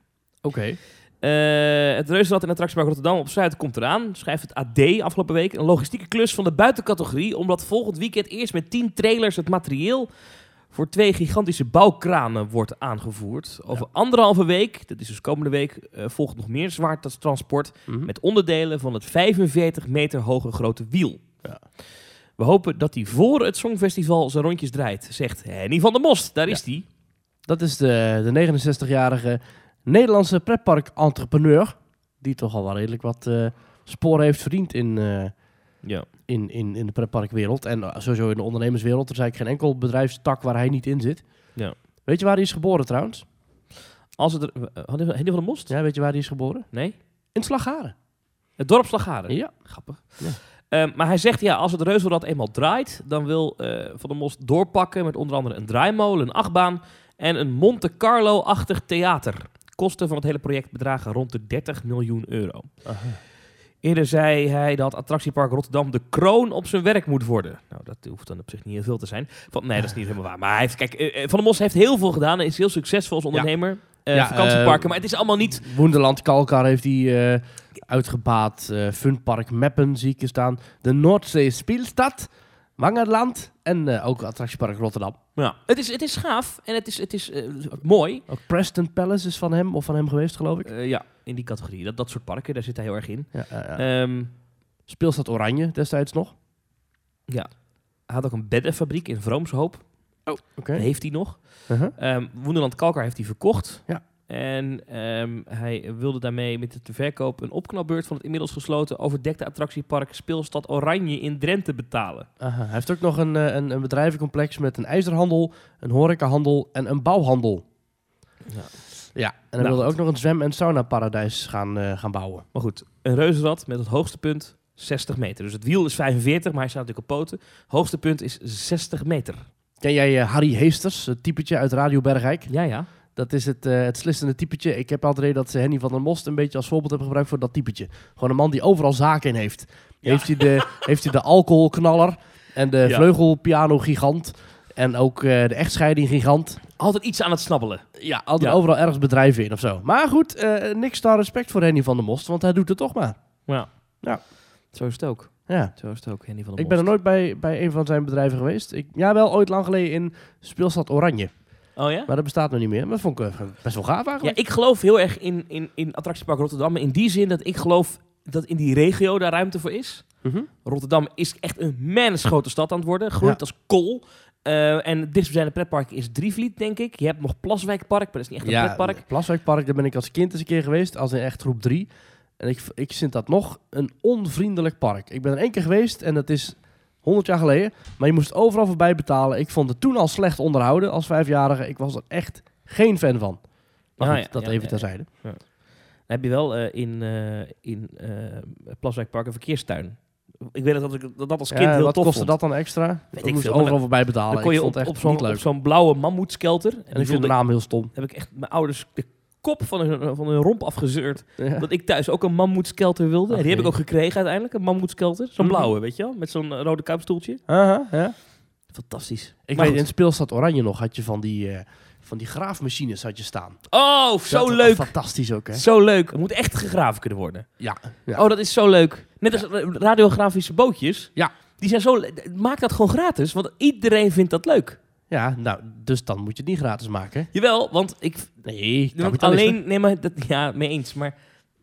B: Oké.
C: Eh, het Reuzenrad in Attractiepark Rotterdam op Zuid komt eraan. Schrijft het AD afgelopen week. Een logistieke klus van de buitencategorie. Omdat volgend weekend eerst met 10 trailers het materieel voor twee gigantische bouwkranen wordt aangevoerd. Over anderhalve week, dat is dus komende week, eh, volgt nog meer zwaartransport
B: Mhm.
C: met onderdelen van het 45 meter hoge grote wiel.
B: Ja.
C: We hopen dat hij voor het Songfestival zijn rondjes draait, zegt Henny van der Most. Daar is die.
B: Dat is de, de 69-jarige Nederlandse pretpark-entrepreneur. Die toch al wel redelijk wat eh sporen heeft verdiend in, eh,
C: Ja.
B: in, in, in de pretparkwereld. En eh, sowieso in de ondernemerswereld. Er is eigenlijk geen enkel bedrijfstak waar hij niet in zit.
C: Ja.
B: Weet je waar hij is geboren trouwens?
C: Als het er, eh, Henny van der Most?
B: Ja, weet je waar hij is geboren?
C: Nee?
B: In Slagharen.
C: Het dorp Slagharen.
B: Ja.
C: Grappig.
B: Ja.
C: Eh, maar hij zegt, ja, als het reuzenrad eenmaal draait, dan wil eh, Van der Most doorpakken met onder andere een draaimolen, een achtbaan en een Monte Carlo-achtig theater. Kosten van het hele project bedragen rond de 30 miljoen euro. Eerder zei hij dat attractiepark Rotterdam de kroon op zijn werk moet worden. Nou, dat hoeft dan op zich niet heel veel te zijn. Van, nee, dat is niet helemaal waar. Maar hij heeft, kijk, eh, eh, Van der Mos heeft heel veel gedaan en is heel succesvol als ondernemer. eh,
B: Ja,
C: vakantieparken,
B: eh,
C: maar het is allemaal niet...
B: Woenderland Kalkar heeft hij eh, uitgebaat. Eh, Funpark Meppen zie ik hier staan. De Noordzee Spielstad. Wangerland. En eh, ook attractiepark Rotterdam.
C: Ja. Het, is, het is gaaf en het is, het is eh, mooi.
B: Ook Preston Palace is van hem of van hem geweest, geloof ik.
C: Eh, ja, in die categorie. Dat, dat soort parken, daar zit hij heel erg in.
B: Ja, ja, ja.
C: Ehm,
B: Speelstad Oranje destijds nog.
C: hij had ook een beddenfabriek in Vroomshoop.
B: Oké.
C: Dat heeft hij nog.
B: Uh-huh.
C: Ehm Woenderland Kalkar heeft hij verkocht.
B: Ja.
C: En ehm, hij wilde daarmee met de verkoop een opknapbeurt van het inmiddels gesloten overdekte attractiepark Speelstad Oranje in Drenthe betalen.
B: Aha. Uh-huh. Hij heeft ook nog een, eh, een, een bedrijvencomplex met een ijzerhandel, een horecahandel en een bouwhandel.
C: Ja.
B: Ja, en hij
C: Nou,
B: wilde
C: goed.
B: ook nog een zwem- en sauna-paradijs gaan, eh, gaan bouwen.
C: Maar goed, een reuzenrad met het hoogste punt 60 meter. Dus het wiel is 45, maar hij staat natuurlijk op poten. Hoogste punt is 60 meter.
B: Ken jij eh, Harry Heesters, het typetje uit Radio Bergijk?
C: Ja, ja.
B: Dat is het, eh, het slissende typetje. Ik heb altijd het idee dat ze Henny van der Most een beetje als voorbeeld hebben gebruikt voor dat typetje. Gewoon een man die overal zaken in heeft.
C: Ja.
B: Heeft, hij de, heeft hij de alcoholknaller en de
C: Ja.
B: vleugelpiano-gigant en ook eh, de echtscheiding-gigant.
C: Altijd iets aan het snabbelen.
B: Ja, altijd
C: Ja.
B: overal ergens bedrijven in of zo. Maar goed, eh, niks dan respect voor Henny van der Most, want hij doet het toch maar.
C: Zo is het ook.
B: Ja.
C: Zo is het ook, Henny van der
B: Ik ben er nooit
C: Most.
B: bij, bij een van zijn bedrijven geweest. Ik, ja, wel ooit lang geleden in Speelstad Oranje.
C: Oh ja?
B: Maar dat bestaat nog niet meer. Maar dat vond ik eh, best wel gaaf
C: Ja,
B: eigenlijk.
C: ik geloof heel erg in, in, in attractiepark Rotterdam. In die zin dat ik geloof dat in die regio daar ruimte voor is.
B: Mhm.
C: Rotterdam is echt een mens grote stad aan het worden. Groeit
B: Ja.
C: als kool. Eh, en het dichtstbijzijnde pretpark is Drievliet, denk ik. Je hebt nog Plaswijkpark, maar dat is niet echt een pretpark.
B: het Plaswijkpark, daar ben ik als kind eens een keer geweest. Als in echt groep 3. En ik, ik vind dat nog een onvriendelijk park. Ik ben er één keer geweest en dat is 100 jaar geleden. Maar je moest overal voorbij betalen. Ik vond het toen al slecht onderhouden als vijfjarige. Ik was er echt geen fan van. Maar
C: Ah,
B: goed,
C: ja,
B: dat
C: ja,
B: even
C: ja,
B: terzijde.
C: Dan heb je wel eh, in, eh in eh, Plaswijkpark een verkeerstuin. Ik weet dat ik dat, dat als kind
B: Ja,
C: heel
B: Eh, wat
C: tof
B: kostte
C: vond.
B: dat dan extra?
C: Weet
B: ik
C: ik
B: moest
C: veel,
B: overal
C: maar
B: voorbij betalen.
C: Dan kon je
B: ik vond
C: op,
B: het
C: op
B: echt
C: zo'n
B: niet leuk.
C: op zo'n blauwe mammoetskelter. En,
B: en
C: die
B: ik vond
C: vond
B: de
C: ik,
B: naam heel stom.
C: heb ik echt mijn ouders de kop van hun, van hun romp afgezeurd.
B: Ja.
C: Dat ik thuis ook een mammoetskelter wilde. En
B: Oké.
C: die heb ik ook gekregen uiteindelijk, een mammoetskelter. Zo'n
B: Mhm.
C: blauwe, weet je wel? Met zo'n eh, rode kuipstoeltje.
B: Aha, ja.
C: Fantastisch.
B: Ik
C: Maar
B: weet,
C: goed.
B: in Speelstad Oranje nog had je van die, eh, van die graafmachines had je staan.
C: Oh, zo
B: Dat-
C: leuk.
B: Fantastisch ook, hè?
C: Zo leuk. Het moet echt gegraven kunnen worden.
B: Ja. ja.
C: Oh, dat is zo leuk. Net als ra- radiografische bootjes.
B: Ja.
C: Die zijn zo... le- Maak dat gewoon gratis, want iedereen vindt dat leuk.
B: Ja, nou, dus dan moet je het niet gratis maken.
C: Jawel, want ik...
B: Nee,
C: Want alleen... Nee, maar... Dat, ja, mee eens. Maar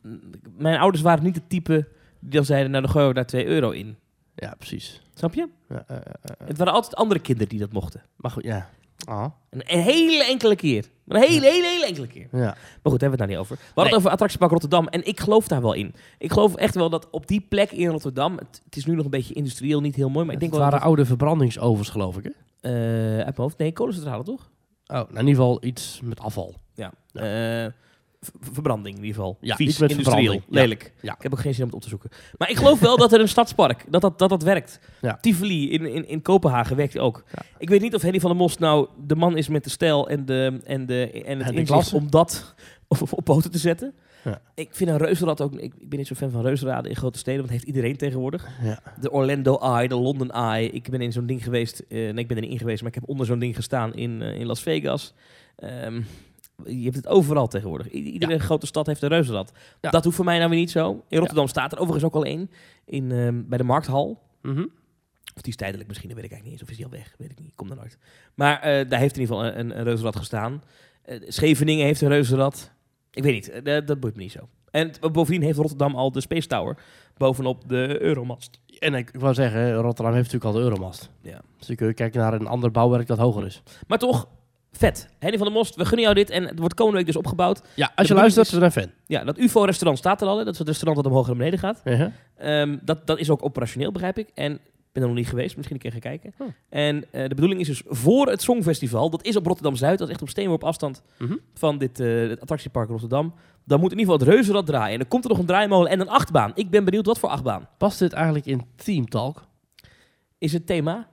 C: mm, mijn ouders waren niet het type die dan zeiden, nou dan gooien we daar 2 euro in.
B: Ja, precies.
C: Snap je?
B: Ja, eh, eh, eh.
C: Het waren altijd andere kinderen die dat mochten.
B: Maar goed, ja. Ah,
C: Een hele enkele keer. Een hele, hele, hele enkele keer.
B: ja.
C: Maar goed, daar hebben we het nou niet over. We hadden het over attractiepark Rotterdam. En ik geloof daar wel in. Ik geloof echt wel dat op die plek in Rotterdam... Het, het is nu nog een beetje industrieel, niet heel mooi. Maar ik denk
B: het
C: wel...
B: waren
C: dat-
B: oude verbrandingsovens, geloof ik, hè?
C: eh, uit mijn hoofd. Nee, kolencentrale toch?
B: Oh, nou, in ieder geval iets met afval.
C: Ja.
B: Ja.
C: Eh, v- verbranding in ieder geval.
B: Ja,
C: Vies,
B: iets met
C: industrieel,
B: verbranding. Ja.
C: lelijk.
B: Ja.
C: Ik heb ook geen zin om het op te zoeken. Maar ik geloof wel dat er een stadspark, dat dat, dat, dat werkt.
B: Ja.
C: Tivoli in, in, in Kopenhagen werkt ook.
B: Ja.
C: Ik weet niet of Henny van der Most nou de man is met de stijl en, de, en, de, en
B: de
C: het inzicht
B: klasse.
C: om dat op, op, op poten te zetten.
B: Ja.
C: Ik vind een reuzenrad ook... Ik, ik ben niet zo fan van reuzenraden in grote steden, want dat heeft iedereen tegenwoordig.
B: Ja.
C: De Orlando Eye, de London Eye. Ik ben in zo'n ding geweest... eh, nee, ik ben er niet in geweest, maar ik heb onder zo'n ding gestaan in, eh, in Las Vegas. Ehm, je hebt het overal tegenwoordig. I- iedere grote stad heeft een reuzenrad.
B: Ja.
C: Dat hoeft voor mij nou weer niet zo. In Rotterdam staat er overigens ook al één. In, ehm, bij de Markthal.
B: Mhm.
C: Of die is tijdelijk misschien, dat weet ik eigenlijk niet eens. Of is die al weg, weet ik niet. Komt er nooit. Maar eh, daar heeft in ieder geval een, een, een reuzenrad gestaan. Eh, Scheveningen heeft een reuzenrad. Ik weet niet, eh, dat- dat boeit me niet zo. En t- bovendien heeft Rotterdam al de Space Tower bovenop de Euromast.
B: En ik wou zeggen, Rotterdam heeft natuurlijk al de Euromast.
C: Ja.
B: Dus dan kun je kijken naar een ander bouwwerk dat hoger is.
C: Maar toch, vet. Henny van der Most, we gunnen jou dit. En het wordt komende week dus opgebouwd.
B: Ja, als je
C: bedoeling
B: luistert,
C: is-
B: we zijn fan.
C: Ja, dat UFO-restaurant staat er al. Hè? Dat is het restaurant dat omhoog en naar beneden gaat.
B: Ja, hè?
C: Ehm, dat, dat is ook operationeel, begrijp ik. En ik ben er nog niet geweest, misschien een keer gaan kijken.
B: Oh.
C: En eh, de bedoeling is dus voor het Songfestival, dat is op Rotterdam-Zuid, dat is echt op steenworp afstand
B: Mhm.
C: van dit eh, het attractiepark Rotterdam. Dan moet in ieder geval het reuzenrad draaien. En dan komt er nog een draaimolen en een achtbaan. Ik ben benieuwd wat voor achtbaan.
B: Past dit eigenlijk in Team Talk?
C: Is het thema?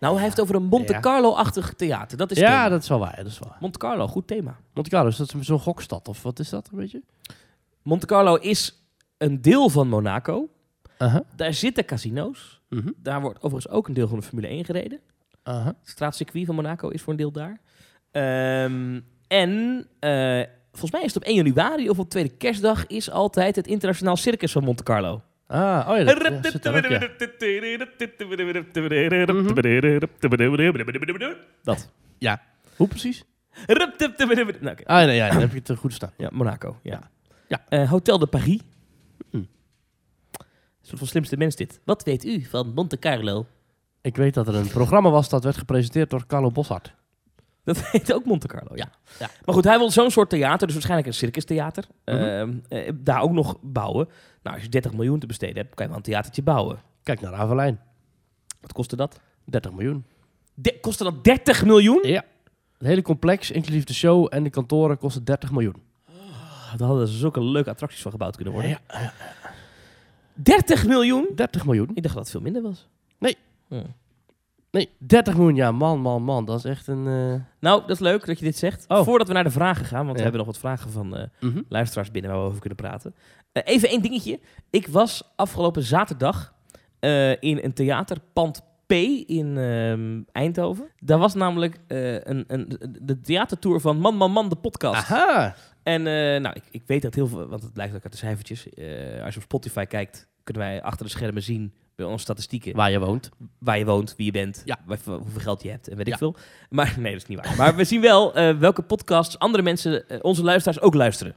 C: Nou, hij heeft over een Monte
B: Ja.
C: Carlo-achtig theater. Dat is
B: ja,
C: thema.
B: dat is wel waar. Dat is wel waar.
C: Monte Carlo, goed thema.
B: Monte Carlo, is dat zo'n gokstad? Of wat is dat een beetje?
C: Monte Carlo is een deel van Monaco.
B: Aha.
C: Daar zitten casino's.
B: Mhm.
C: Daar wordt overigens ook een deel van de Formule 1 gereden.
B: Aha.
C: Het straatcircuit van Monaco is voor een deel daar. Ehm, en eh, volgens mij is het op 1 januari of op tweede kerstdag is altijd het internationaal circus van Monte Carlo.
B: Ah, oh ja, dat, ja, zit daar ook, ja.
C: Dat.
B: Hoe precies?
C: Nou, oké.
B: Ah, nee, ja, dan heb je het eh, goed staan.
C: Ja, Monaco. Ja.
B: Ja.
C: Eh, Hotel de Paris.
B: Hm.
C: Zo van slimste mens dit. Wat weet u van Monte Carlo?
B: Ik weet dat er een programma was dat werd gepresenteerd door Carlo Boshart.
C: Dat heet ook Monte Carlo, ja.
B: Ja.
C: Maar goed, hij wil zo'n soort theater, dus waarschijnlijk een circustheater.
B: Mhm.
C: Ehm, eh, daar ook nog bouwen. Nou, als je 30 miljoen te besteden hebt, kan je wel een theatertje bouwen.
B: Kijk naar Avelijn.
C: Wat kostte dat?
B: 30 miljoen.
C: De- kostte dat 30 miljoen?
B: Ja. Het hele complex, inclusief de show en de kantoren, kostte 30 miljoen.
C: Daar hadden ze zulke leuke attracties van gebouwd kunnen worden. 30 miljoen?
B: 30 miljoen?
C: Ik dacht dat het veel minder was.
B: Nee.
C: Ja.
B: Nee, 30 miljoen. Ja, man, man, man. Dat is echt een... eh,
C: Nou, dat is leuk dat je dit zegt.
B: Oh.
C: Voordat we naar de vragen gaan, want we
B: Ja.
C: hebben nog wat vragen van eh,
B: Mhm.
C: luisteraars binnen waar we over kunnen praten. Eh, even één dingetje. Ik was afgelopen zaterdag eh, in een theaterpand P in ehm, Eindhoven. Daar was namelijk eh, een, een, de theatertour van Man Man Man, de podcast.
B: Aha!
C: En eh, nou, ik, ik weet dat heel veel, want het blijkt ook uit de cijfertjes. Eh, als je op Spotify kijkt, kunnen wij achter de schermen zien bij onze statistieken
B: Waar je woont.
C: waar je woont, wie je bent,
B: Ja.
C: waar- hoeveel geld je hebt en weet
B: Ja.
C: ik veel. Maar nee, dat is niet waar. Maar we zien wel eh, welke podcasts andere mensen, eh, onze luisteraars, ook luisteren.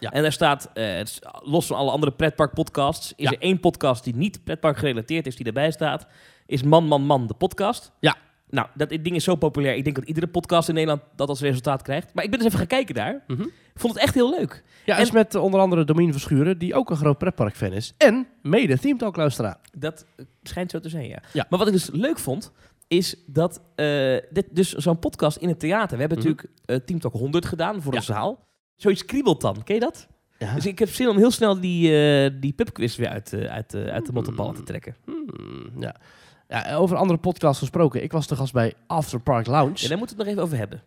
B: Ja.
C: En daar staat, eh, het is los van alle andere pretparkpodcasts, is
B: Ja.
C: er één podcast die niet pretpark gerelateerd is, die erbij staat, is Man Man Man, de podcast.
B: Ja.
C: Nou, dat ding is zo populair. Ik denk dat iedere podcast in Nederland dat als resultaat krijgt. Maar ik ben dus even gaan kijken daar.
B: Mhm.
C: Ik vond het echt heel leuk.
B: Ja,
C: En-
B: is met eh, onder andere Domien Verschuren, die ook een groot pretparkfan is. En mede Team Talk luisteraar.
C: Dat eh, schijnt zo te zijn, ja.
B: Ja.
C: Maar wat ik dus leuk vond, is dat eh, dit, dus zo'n podcast in het theater. We hebben
B: Mhm.
C: natuurlijk eh, Team Talk 100 gedaan voor
B: Ja.
C: een zaal. Zoiets kriebelt dan, ken je dat?
B: Ja.
C: Dus ik heb zin om heel snel die, eh die pubquiz weer uit, eh, uit, eh, uit de mottenballen
B: Mm.
C: te trekken.
B: Hmm, ja. ja. en Over andere podcasts gesproken. Ik was te gast bij After Park Lounge.
C: Ja, daar moeten we het nog even over hebben.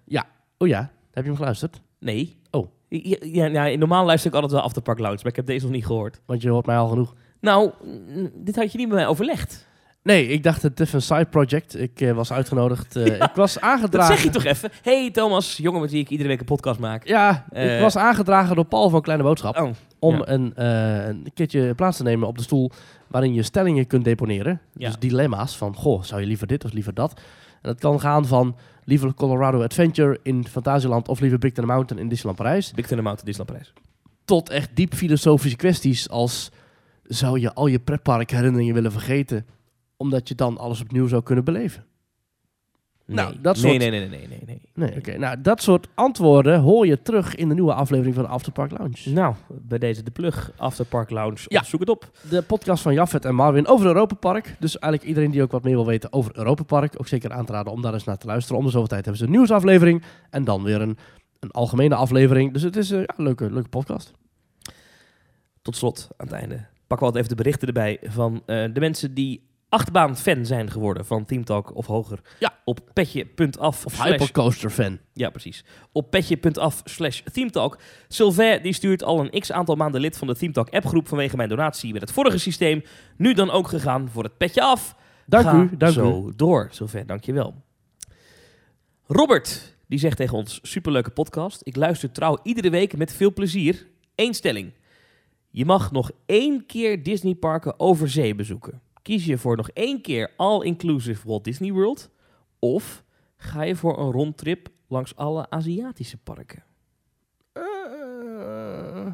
B: Oh ja, heb je hem geluisterd?
C: Nee.
B: Oh.
C: Ja, ja, nou, normaal luister ik altijd wel After Park Lounge, maar ik heb deze nog niet gehoord.
B: Want je hoort mij al genoeg.
C: Nou, mm, dit had je niet met mij overlegd.
B: Nee, ik dacht het is een side project. Ik eh, was uitgenodigd. eh, Ik was
C: Dat
B: aangedragen.
C: zeg je toch even? hey, Thomas, jongen met wie ik iedere week een podcast maak.
B: Ja,
C: Eh.
B: ik was aangedragen door Paul van Kleine Boodschap
C: Oh,
B: om
C: ja.
B: een, eh, een keertje plaats te nemen op de stoel waarin je stellingen kunt deponeren.
C: Ja.
B: Dus dilemma's van, goh, zou je liever dit of liever dat? En dat kan gaan van liever Colorado Adventure in Fantasieland of liever Big Thunder Mountain in Disneyland Parijs.
C: Big Thunder Mountain Disneyland Parijs.
B: Tot echt diep filosofische kwesties als, zou je al je pretparkherinneringen willen vergeten omdat je dan alles opnieuw zou kunnen beleven? Nou,
C: Nee.
B: dat
C: nee,
B: soort-
C: nee, nee, nee, nee, nee.
B: Nee, oké. Nou, dat soort antwoorden hoor je terug in de nieuwe aflevering van After Park Lounge.
C: Nou, bij deze de plug. After Park Lounge.
B: Ja.
C: Zoek het op.
B: De podcast van Jaffet en Marvin over Europa Park. Dus eigenlijk iedereen die ook wat meer wil weten over Europa Park. Ook zeker aan te raden om daar eens naar te luisteren. Om de zoveel tijd hebben ze een nieuwsaflevering. En dan weer een, een algemene aflevering. Dus het is eh, ja, een leuke, leuke podcast.
C: Tot slot, aan het einde, pakken we altijd even de berichten erbij van eh, de mensen die achtbaan-fan zijn geworden van Team Talk of hoger.
B: Ja.
C: Op petje.af.
B: Of
C: slash-
B: Hypercoaster fan.
C: Ja, precies. Op petje.af slash themetalk. Sylvain die stuurt al een x aantal maanden lid van de Themetalk appgroep vanwege mijn donatie met het vorige systeem. Nu dan ook gegaan voor het petje af.
B: Dank
C: Ga
B: u, dank
C: zo
B: u.
C: door, Sylvain. Dankjewel. Robert, die zegt tegen ons, superleuke podcast. Ik luister trouw iedere week met veel plezier. Eén stelling. Je mag nog één keer Disneyparken over zee bezoeken. Kies je voor nog één keer all-inclusive Walt Disney World? Of ga je voor een rondtrip langs alle Aziatische parken?
B: Eh,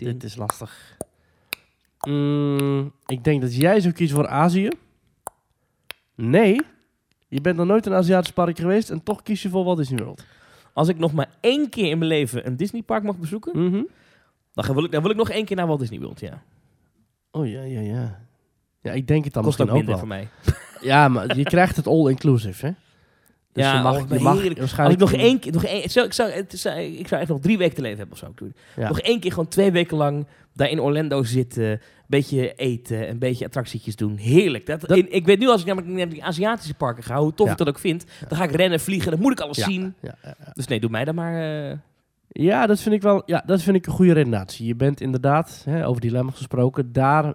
B: Dit is lastig. Mm, ik denk dat jij zou kiezen voor Azië. Nee, je bent nog nooit in een Aziatisch park geweest en toch kies je voor Walt Disney World.
C: Als ik nog maar één keer in mijn leven een Disneypark mag bezoeken,
B: Mhm.
C: dan, ga- wil ik, dan wil ik nog één keer naar Walt Disney World. Ja.
B: Oh ja, ja, ja. Ja, ik denk het dan
C: Kost ook
B: misschien ook
C: minder
B: wel.
C: voor mij.
B: Ja, maar je krijgt het all-inclusive, hè? Dus
C: Ja,
B: je mag,
C: oh,
B: je mag
C: heerlijk. Als ik
B: waarschijnlijk...
C: nog één keer, nog één, zou, ik, zou, het zou- ik zou echt nog drie weken te leven hebben of zo. Ik doe.
B: Ja.
C: Nog één keer gewoon twee weken lang daar in Orlando zitten, een beetje eten, een beetje attractietjes doen. Heerlijk. Dat,
B: Dat-
C: in- ik weet nu als ik namelijk naar die Aziatische parken ga, hoe tof
B: Ja.
C: ik dat ook vind, dan ga ik rennen, vliegen, dan moet ik alles
B: Ja.
C: zien.
B: Ja, ja, ja.
C: Dus nee, doe mij dan maar. eh,
B: Ja, dat vind ik wel. Ja, dat vind ik een goede redenatie. Je bent inderdaad, hè, over dilemma gesproken, daar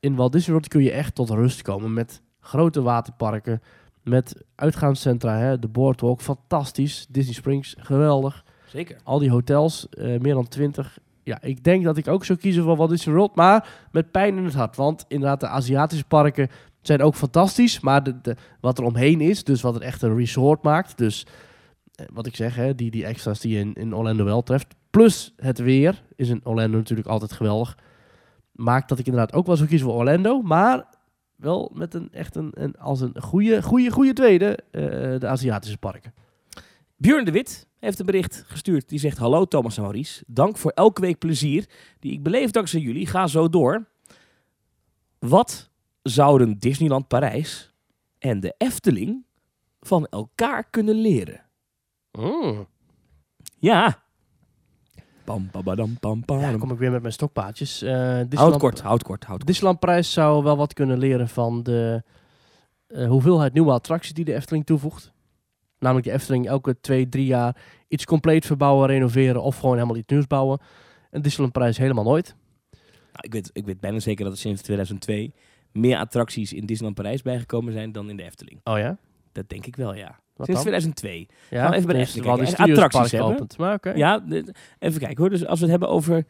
B: in Walt Disney World kun je echt tot rust komen met grote waterparken, met uitgaanscentra, hè, de Boardwalk, fantastisch, Disney Springs, geweldig,
C: zeker.
B: al die hotels, eh, meer dan twintig. Ja, ik denk dat ik ook zou kiezen voor Walt Disney World, maar met pijn in het hart, want inderdaad de Aziatische parken zijn ook fantastisch, maar de, de- wat er omheen is, dus wat het echt een resort maakt, dus eh, wat ik zeg, hè, die, die extra's die je in, in Orlando wel treft. Plus het weer is in Orlando natuurlijk altijd geweldig. Maakt dat ik inderdaad ook wel zo kies voor Orlando. Maar wel met een echt een, een als een goede, goede, goede tweede eh, de Aziatische parken.
C: Björn de Wit heeft een bericht gestuurd. Die zegt: Hallo Thomas en Maurice. Dank voor elke week plezier die ik beleef dankzij jullie. Ga zo door. Wat zouden Disneyland Parijs en de Efteling van elkaar kunnen leren? Ja. Pam, pam, pam, pam, pam.
B: Ja, Oh, dan kom ik weer met mijn stokpaadjes. Eh, Disneyland-
C: houd kort, houd kort, houd kort.
B: Disneyland Parijs zou wel wat kunnen leren van de eh, hoeveelheid nieuwe attracties die de Efteling toevoegt. Namelijk de Efteling elke twee, drie jaar iets compleet verbouwen, renoveren of gewoon helemaal iets nieuws bouwen. En Disneyland Parijs helemaal nooit.
C: Nou, ik, weet, ik weet bijna zeker dat er sinds 2002 meer attracties in Disneyland Parijs bijgekomen zijn dan in de Efteling.
B: Oh ja?
C: Dat denk ik wel, ja.
B: Wat
C: sinds
B: dan?
C: 2002.
B: Ja,
C: Gaan we even bij de
B: dus
C: Efteling
B: wel
C: kijken.
B: die
C: En attracties
B: stuurderspark
C: hebben.
B: geopend. Maar oké. Nou,
C: Ja, de- even kijken hoor. Dus als we het hebben over,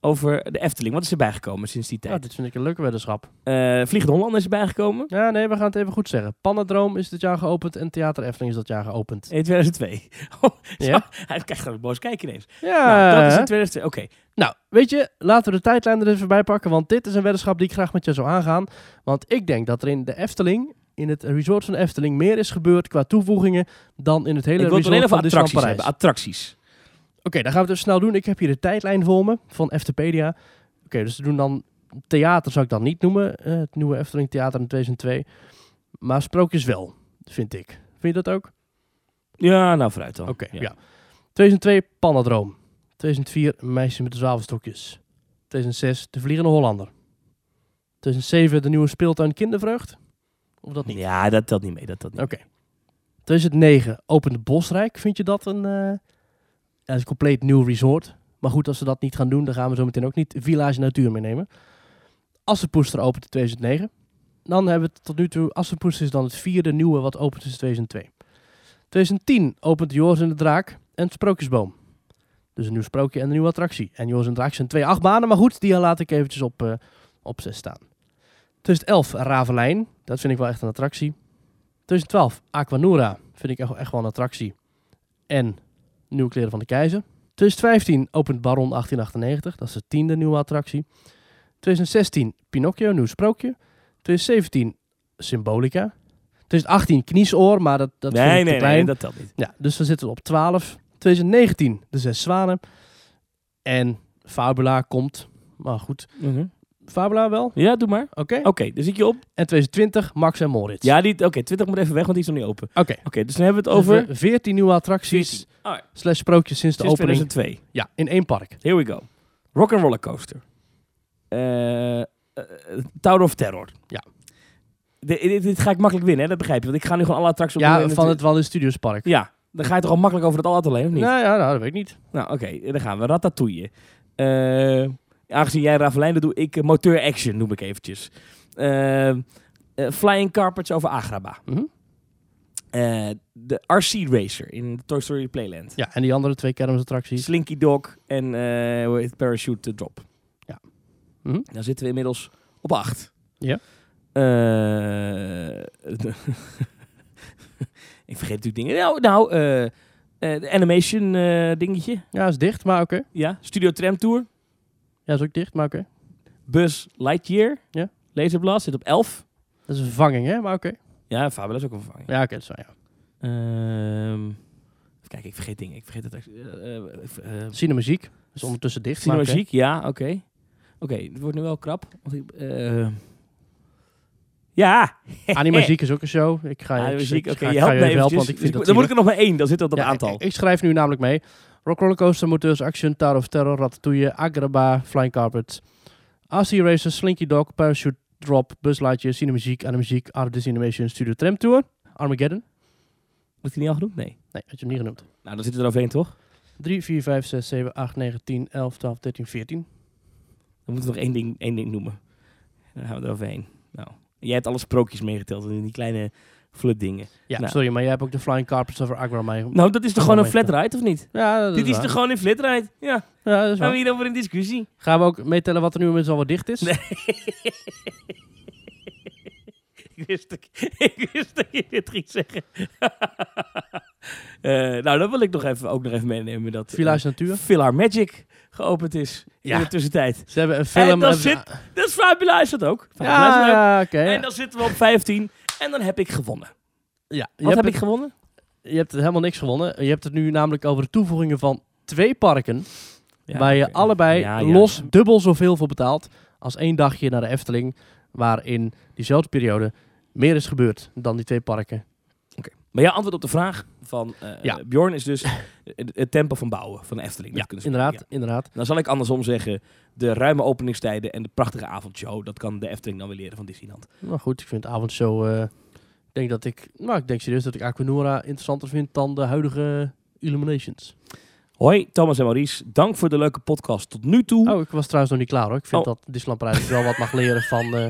C: over de Efteling. Wat is er bijgekomen sinds die
B: Nou,
C: tijd?
B: dit vind ik een leuke weddenschap.
C: Eh Vliegende Hollander is erbij gekomen
B: Ja, nee, we gaan het even goed zeggen. Pannendroom is dit jaar geopend en Theater Efteling is dat jaar geopend.
C: in 2002. Oh,
B: Ja. Ah.
C: zo, hij krijgt gewoon boos kijken ineens.
B: Ja.
C: nou, dat is
B: hè?
C: in 2002. Oké,
B: Nou, weet je, laten we de tijdlijn er even bij pakken. Want dit is een weddenschap die ik graag met je zou aangaan. Want ik denk dat er in de Efteling, in het resort van de Efteling, meer is gebeurd qua toevoegingen dan in het hele
C: ik wil het
B: resort
C: alleen
B: van
C: over
B: Disneyland
C: attracties
B: Parijs.
C: hebben. Attracties.
B: Oké, dan gaan we het even snel doen. Ik heb hier de tijdlijn voor me van Eftepedia. Oké, dus ze doen dan theater, zou ik dan niet noemen. eh, het nieuwe Efteling Theater in 2002. Maar sprookjes wel, vind ik. Vind je dat ook?
C: Ja, nou vooruit dan.
B: Oké, ja. 2002 Pannadroom. 2004 Meisje met de zwavelstokjes. 2006 De Vliegende Hollander. 2007 De Nieuwe Speeltuin Kindervreugd. Of dat niet?
C: Ja, dat telt niet mee. Dat telt niet.
B: Oké. 2009 Opende Bosrijk. Vind je dat een, eh, ja, een compleet nieuw resort? Maar goed, als ze dat niet gaan doen, dan gaan we zo meteen ook niet Village Natuur meenemen. Assenpoester opent in 2009. Dan hebben we het tot nu toe... Assenpoester is dan het vierde nieuwe wat opent sinds 2002. 2010 opent Joris en de Draak en het Sprookjesboom. Dus een nieuw sprookje en een nieuwe attractie. En Joris en de Draak zijn twee achtbanen, maar goed, die laat ik eventjes op, eh op zes staan. 2011 Ravelijn, dat vind ik wel echt een attractie. 2012 Aquanura, vind ik echt, echt wel een attractie. En Nieuwe Kleren van de Keizer. 2015 opent Baron 1898, dat is de tiende nieuwe attractie. 2016 Pinocchio, nieuw sprookje. 2017 Symbolica. 2018 Kniesoor, maar dat, dat vind
C: nee,
B: ik te
C: nee,
B: klein.
C: nee, dat telt niet.
B: Ja, dus we zitten op 12. 2019, de Zes Zwanen. En Fabula komt. Maar goed, Fabula wel? Oké.
C: Ja, doe maar.
B: Oh.
C: Oké, dus ik je op.
B: En 2020, Max en Moritz.
C: Ja, die, oké, 20 moet even weg, want die is nog niet open. Oké,
B: Oké.
C: dus dan hebben we het
B: Dus we
C: over
B: hebben 14 nieuwe attracties
C: 14. Alright.
B: slash sprookjes sinds de
C: sinds
B: opening.
C: 2002.
B: Ja, in één park.
C: Here we go. Rock and Roller Coaster. Eh, eh, Tower of Terror.
B: Ja.
C: De- dit, dit ga ik makkelijk winnen, hè? dat begrijp je. Want ik ga nu gewoon alle attracties
B: Ja,
C: opnoemen en
B: van het Waldis Studios Park.
C: Ja, dan ga je toch al makkelijk over dat altijd alleen, of niet?
B: Nou ja, nou, dat weet ik niet.
C: Nou, oké, dan gaan we. Ratatouille. Eh, aangezien jij Ravelijn doet, doe ik eh, Moteur Action, noem ik eventjes. Eh, eh, flying Carpets over Agraba.
B: Mhm.
C: Eh, de RC Racer in Toy Story Playland.
B: Ja, en die andere twee kermisattracties.
C: Slinky Dog en eh, hoe heet het? Parachute Drop.
B: Ja. Mhm.
C: Dan zitten we inmiddels op 8.
B: Ja.
C: ik vergeet natuurlijk dingen. Nou, nou eh, eh, de animation eh, dingetje.
B: Ja, is dicht, maar oké.
C: Ja. Studio Tram Tour.
B: Ja, is ook dicht, maar oké.
C: Bus Lightyear.
B: Ja.
C: Laser Blast zit op 11.
B: Dat is een vervanging, hè? Maar oké.
C: Ja, Fabula is ook een vervanging.
B: Ja, oké, dat is waar, ja.
C: Ehm, even kijken, ik vergeet dingen. Ik vergeet het. echt. Eh, eh, eh, eh,
B: Cinemuziek. Is ondertussen dicht, maar oké.
C: Cinemagiek, ja, oké. Oké, het wordt nu wel krap. Want ik, eh, ja,
B: Animaziek is ook een show. Ik ga,
C: Ah, de
B: ik-
C: muziek.
B: ik
C: Oké,
B: ga- ik
C: je
B: ga
C: helpt me
B: jullie helpen,
C: eventjes.
B: want ik vind
C: Dus
B: dat
C: dan moet
B: zielig.
C: ik er nog maar één. Dan zit dat op
B: Ja,
C: aantal.
B: Ik, ik schrijf nu namelijk mee. Rock Rollercoaster, Moteurs, Action, Tower of Terror, Ratatouille, Agrabah, Flying Carpet, RC Racer, Slinky Dog, Parachute Drop, Buzz Lightyear, Cinemuziek, Animuziek, Art Disney Animation, Studio Tram Tour, Armageddon.
C: Wordt hij niet al genoemd? Nee.
B: Nee, had je hem niet genoemd.
C: Nou, dan zit er overheen, toch?
B: 3, 4, 5, 6, 7, 8, 9, 10, 11, 12, 13, 14.
C: Dan moeten we nog één ding, één ding noemen. Dan gaan we er overheen. Nou, jij hebt alle sprookjes meegeteld. en Die kleine flutdingen.
B: Ja,
C: Nou.
B: sorry, maar jij hebt ook de Flying Carpets over Agrabah mee.
C: Nou, dat is toch
B: Oh,
C: gewoon een
B: meestal.
C: flat ride, of niet?
B: ja, dat
C: Dit is
B: waar.
C: toch gewoon een flat ride? Ja,
B: Ja, dat is
C: gaan
B: waar.
C: we hierover in discussie?
B: Gaan we ook meetellen wat er nu inmiddels alweer dicht is?
C: Nee. ik, wist dat, ik- ik wist dat je dit ging zeggen. Eh, nou, dat wil ik nog even, ook nog even meenemen. Dat, eh,
B: Village Natuur.
C: Villar Magic geopend is
B: Ja.
C: in de tussentijd.
B: Ze hebben een film...
C: dan
B: hebben ze-
C: zit- Dat is Fabula is dat ook. Fabula is
B: Ja,
C: dat ook.
B: ja, oké. ja.
C: En dan zitten we op 15 en dan heb ik gewonnen.
B: Ja, je
C: Wat
B: hebt
C: heb
B: het-
C: ik gewonnen?
B: Je hebt helemaal niks gewonnen. Je hebt het nu namelijk over de toevoegingen van twee parken. waar je allebei los dubbel zoveel voor betaalt. als één dagje naar de Efteling. waarin diezelfde periode meer is gebeurd dan die twee parken.
C: Maar jouw antwoord op de vraag van eh,
B: Ja.
C: Bjorn is dus het het tempo van bouwen van de Efteling. Dat kunnen ze-
B: inderdaad.
C: ja.
B: inderdaad.
C: Dan zal ik andersom zeggen, de ruime openingstijden en de prachtige avondshow, dat kan de Efteling dan weer leren van Disneyland.
B: Nou goed, ik vind het avond zo. eh, ik denk dat ik. Nou, ik denk serieus dat ik Aquanura interessanter vind dan de huidige Illuminations.
C: Hoi, Thomas en Maurice. Dank voor de leuke podcast tot nu toe.
B: Oh, ik was trouwens nog niet klaar hoor. Ik vind
C: Oh.
B: dat Disneyland Parijs dus wel wat mag leren van eh,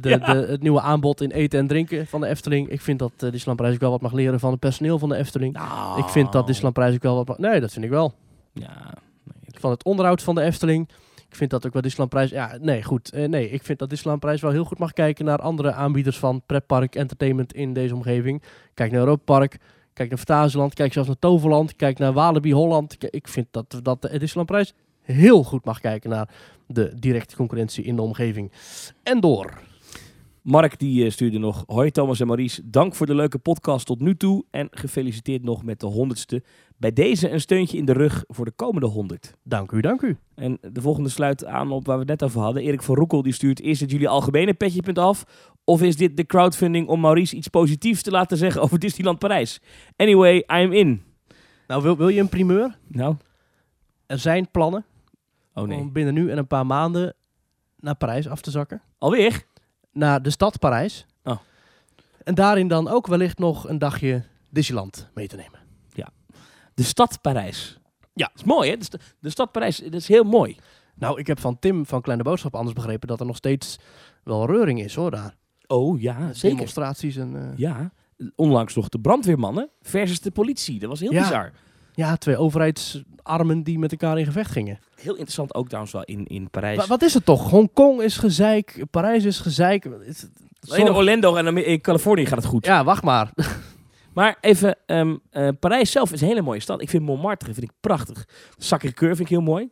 B: de,
C: Ja.
B: de, het nieuwe aanbod in eten en drinken van de Efteling. Ik vind dat eh Disneyland Parijs ook wel wat mag leren van het personeel van de Efteling.
C: Nou.
B: Ik vind dat Disneyland Parijs ook wel wat mag... Nee, dat vind ik wel.
C: Ja, nee, oké.
B: Van het onderhoud van de Efteling. Ik vind dat ook wel Disneyland Parijs... Ja, nee, goed. Eh, nee, ik vind dat Disneyland Parijs wel heel goed mag kijken naar andere aanbieders van pretpark entertainment in deze omgeving. Kijk naar Europa Park. Kijk naar Fantasieland. Kijk zelfs naar Toverland. Kijk naar Walibi Holland. K- Ik vind dat, dat de Disneyland Parijs heel goed mag kijken naar de directe concurrentie in de omgeving. En door.
C: Mark die eh, stuurde nog, hoi Thomas en Maurice. Dank voor de leuke podcast tot nu toe en gefeliciteerd nog met de honderdste. Bij deze een steuntje in de rug voor de komende honderd.
B: Dank u, dank u.
C: En de volgende sluit aan op waar we het net over hadden. Erik van Roekel die stuurt, is het jullie algemene petje af? Of is dit de crowdfunding om Maurice iets positiefs te laten zeggen over Disneyland Parijs? Anyway, I'm in.
B: Nou, wil, wil je een primeur?
C: Nou,
B: Er zijn plannen
C: oh nee.
B: om binnen nu en een paar maanden naar Parijs af te zakken.
C: Alweer?
B: Naar de stad Parijs.
C: Oh.
B: En daarin dan ook wellicht nog een dagje Disneyland mee te nemen.
C: De stad Parijs.
B: Ja.
C: Dat is mooi hè? De, sta- de stad Parijs, dat is heel mooi.
B: Nou, ik heb van Tim van Kleine Boodschap anders begrepen dat er nog steeds wel reuring is hoor daar.
C: Oh ja,
B: Demonstraties en... eh,
C: Ja, onlangs nog de brandweermannen versus de politie. Dat was heel
B: Ja.
C: bizar.
B: ja, twee overheidsarmen die met elkaar in gevecht gingen.
C: Heel interessant ook trouwens wel in, in Parijs.
B: Wa- wat is het toch? Hongkong is gezeik, Parijs is gezeik. Het-
C: Alleen in
B: zorg-
C: Orlando en Amer- in Californië gaat het goed.
B: Ja, wacht maar.
C: Maar even, ehm, eh, Parijs zelf is een hele mooie stad. Ik vind Montmartre vind ik prachtig. Sacré-Cœur vind ik heel mooi.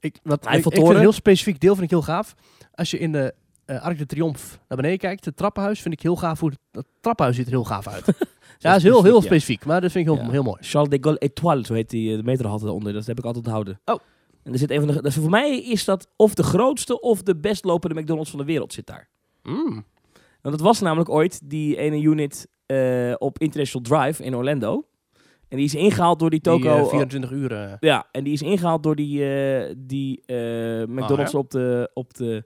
B: Ik, wat, ik, ik
C: Eiffeltoren.
B: vind een heel specifiek deel vind ik heel gaaf. Als je in de eh Arc de Triomphe naar beneden kijkt, het trappenhuis vind ik heel gaaf. Hoe het, dat trappenhuis ziet er heel gaaf uit. ja, dat is heel, heel
C: ja.
B: specifiek, maar dat vind ik heel,
C: Ja.
B: heel mooi.
C: Charles de Gaulle Étoile, zo heet die, eh, de metro had eronder. Dat heb ik altijd onthouden.
B: Oh.
C: En er zit een van de, dus voor mij is dat of de grootste of de best lopende McDonald's van de wereld zit daar.
B: Mm,
C: Want Nou, dat was namelijk ooit die ene unit eh, op International Drive in Orlando. En die is ingehaald door die
B: Die,
C: toko.
B: eh, 24 uur. eh,
C: Ja, en die is ingehaald door die, eh, die eh, McDonald's op de, op de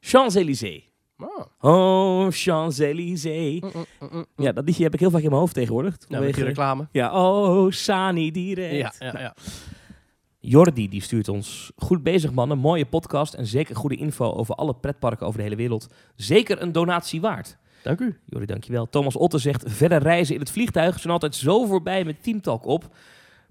C: Champs-Élysées.
B: oh.
C: Oh, Champs-Élysées.
B: Mm, mm, mm, mm.
C: Ja, dat liedje heb ik heel vaak in mijn hoofd tegenwoordig.
B: Ja, met die
C: Vanwege-
B: reclame.
C: ja, oh, Sani direct.
B: Ja, ja, ja.
C: Jordi die stuurt ons. Goed bezig mannen, mooie podcast en zeker goede info over alle pretparken over de hele wereld. Zeker een donatie waard.
B: Dank u.
C: Jordi, dankjewel. Thomas Otte zegt, verder reizen in het vliegtuig zijn altijd zo voorbij met Team Talk op.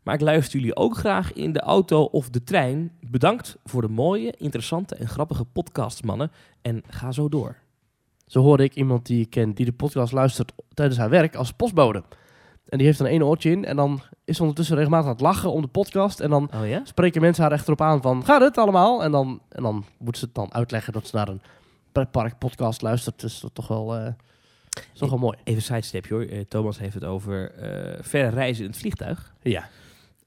C: Maar ik luister jullie ook graag in de auto of de trein. Bedankt voor de mooie, interessante en grappige podcasts, mannen. En ga zo door.
B: Zo hoorde ik iemand die ik ken die de podcast luistert tijdens haar werk als postbode. En die heeft dan één oortje in en dan is ze ondertussen regelmatig aan het lachen om de podcast. En dan
C: Oh ja?
B: spreken mensen haar echt erop aan van, gaat het allemaal? En dan, en dan moet ze het dan uitleggen dat ze naar een pretpark podcast luistert. Dus dat is toch wel, eh, is toch wel mooi.
C: Even sidestep hoor. Eh, Thomas heeft het over eh, verre reizen in het vliegtuig.
B: Ja.